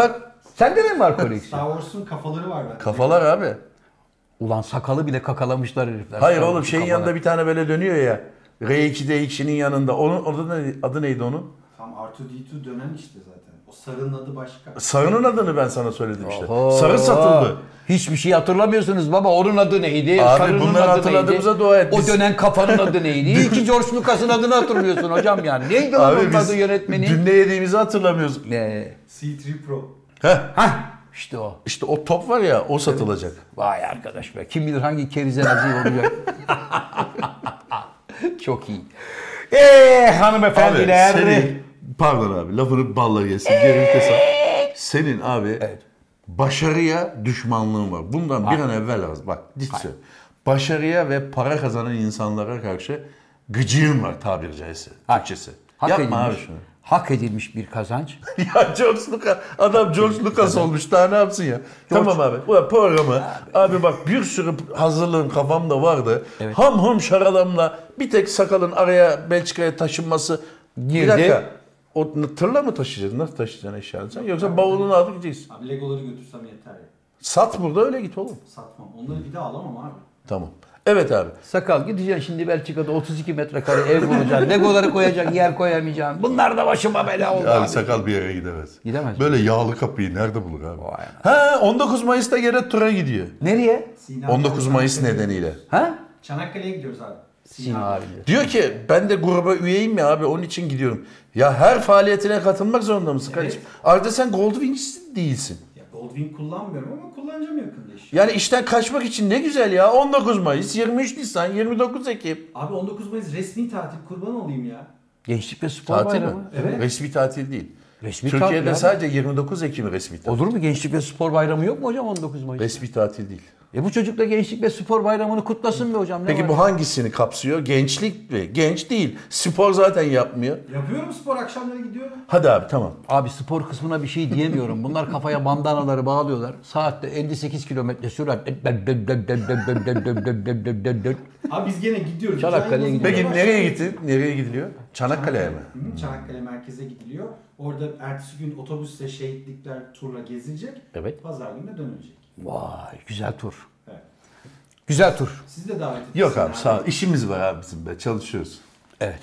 var abi. Bak Sende de mi var koleksiyon? Star Wars'un kafaları var bende. kafalar abi. Ulan sakalı bile kakalamışlar herifler. Hayır Sakalı oğlum şeyin kakalanan. yanında bir tane böyle dönüyor ya. R2D2'nin yanında. Onun adı, ne, adı neydi onun? Tam R2D2 dönen işte zaten. O sarının adı başka. Sarının adını ben sana söyledim işte. Oho. Sarı satıldı. Hiçbir şey hatırlamıyorsunuz baba. Onun adı neydi? Abi Sarının bunları adı hatırladığımıza neydi? dua et. O Biz- dönen kafanın adı *laughs* neydi? İyi ki George Lucas'ın adını hatırlıyorsun hocam yani. Neydi onun adı yönetmeni? dün ne yediğimizi hatırlamıyoruz. Ne? C3 Pro. Heh, Hah işte o. işte o top var ya o satılacak. Vay arkadaş be. Kim bilir hangi kerize nazil olacak. *laughs* Çok iyi. Eh, Eee Abi hanımefendiler. senin, pardon abi lafını balla yesin. Geri vites al. Senin abi başarıya düşmanlığın var. Bundan bir an evvel az bak dik söyle. Başarıya ve para kazanan insanlara karşı gıcığın var tabiri caizse. Türkçesi. Hak Yapma abi edilmiş. şunu. Hak edilmiş bir kazanç. *laughs* ya George Lucas, adam George Lucas olmuş daha ne yapsın ya? Tamam abi, bu programı, abi. bak bir sürü hazırlığın kafamda vardı. Ham hum şaralamla bir tek sakalın araya Belçika'ya taşınması. Bir Girdi. dakika, o tırla mı taşıyacaksın? Nasıl taşıyacaksın eşyanı sen? Yoksa bavulunu alıp gideceksin. Abi Legoları götürsem yeter ya. Sat burada öyle git oğlum. Satmam. Onları bir daha alamam abi. Tamam. Evet abi. Sakal gideceksin şimdi Belçika'da 32 metrekare ev bulacaksın. Legoları koyacak yer koyamayacaksın. Bunlar da başıma bela oldu. Abi abi. sakal bir yere gidemez. Gidemez. Böyle yağlı kapıyı nerede bulur abi? Vay anasını. Ha 19 Mayıs'ta gene tura gidiyor. Nereye? Sina 19 Mayıs Çanakkale- nedeniyle. Ha? Çanakkale'ye gidiyoruz abi. Sina abimde. Diyor ki ben de gruba üyeyim ya abi onun için gidiyorum. Ya her faaliyetine katılmak zorunda mısın kardeşim? Ayrıca sen Goldwing'sin değilsin. Ya Goldwing kullanmıyorum ama kullanacağım yakında işte. Yani işten kaçmak için ne güzel ya. 19 Mayıs, 23 Nisan, 29 Ekim. Abi 19 Mayıs resmi tatil kurban olayım ya. Gençlik ve spor Tatil mi? bayramı. Evet. Resmi tatil değil. Resmi Türkiye'de tatil abi. sadece 29 Ekim resmi tatil. Olur mu? Gençlik ve spor bayramı yok mu hocam 19 Mayıs? Resmi tatil değil. E bu çocuk da gençlik ve spor bayramını kutlasın mı hocam? Ne Peki var? bu hangisini kapsıyor? Gençlik mi? Genç değil. Spor zaten yapmıyor. Yapıyorum spor akşamları gidiyorum. Hadi abi tamam. Abi spor kısmına bir şey diyemiyorum. Bunlar kafaya bandanaları bağlıyorlar. Saatte 58 kilometre sürat. Abi biz gene gidiyoruz. Çanakkale'ye Biz aynı gidiyoruz. Peki zamanda nereye gittin? Nereye gidiliyor? Çanakkale'ye mi? Hı, Çanakkale merkeze gidiliyor. Orada ertesi gün otobüsle şehitlikler turla gezilecek. Evet. Pazar günü de dönülecek. Vay güzel tur. Evet. Güzel tur. Siz de davet edin. Yok abi sağ ol. İşimiz var abi bizim be. Çalışıyoruz. Evet.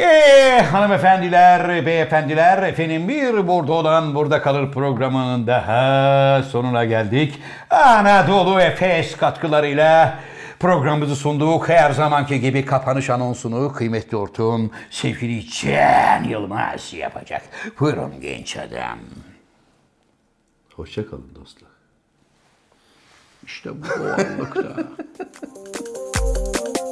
Eee Ee, hanımefendiler, beyefendiler, efendim bir burada olan burada kalır programının daha sonuna geldik. Anadolu Efes katkılarıyla programımızı sunduk. Her zamanki gibi kapanış anonsunu kıymetli ortuğum sevgili Can Yılmaz yapacak. Buyurun genç adam. Hoşçakalın dostlar. İşte bu doğallıkta.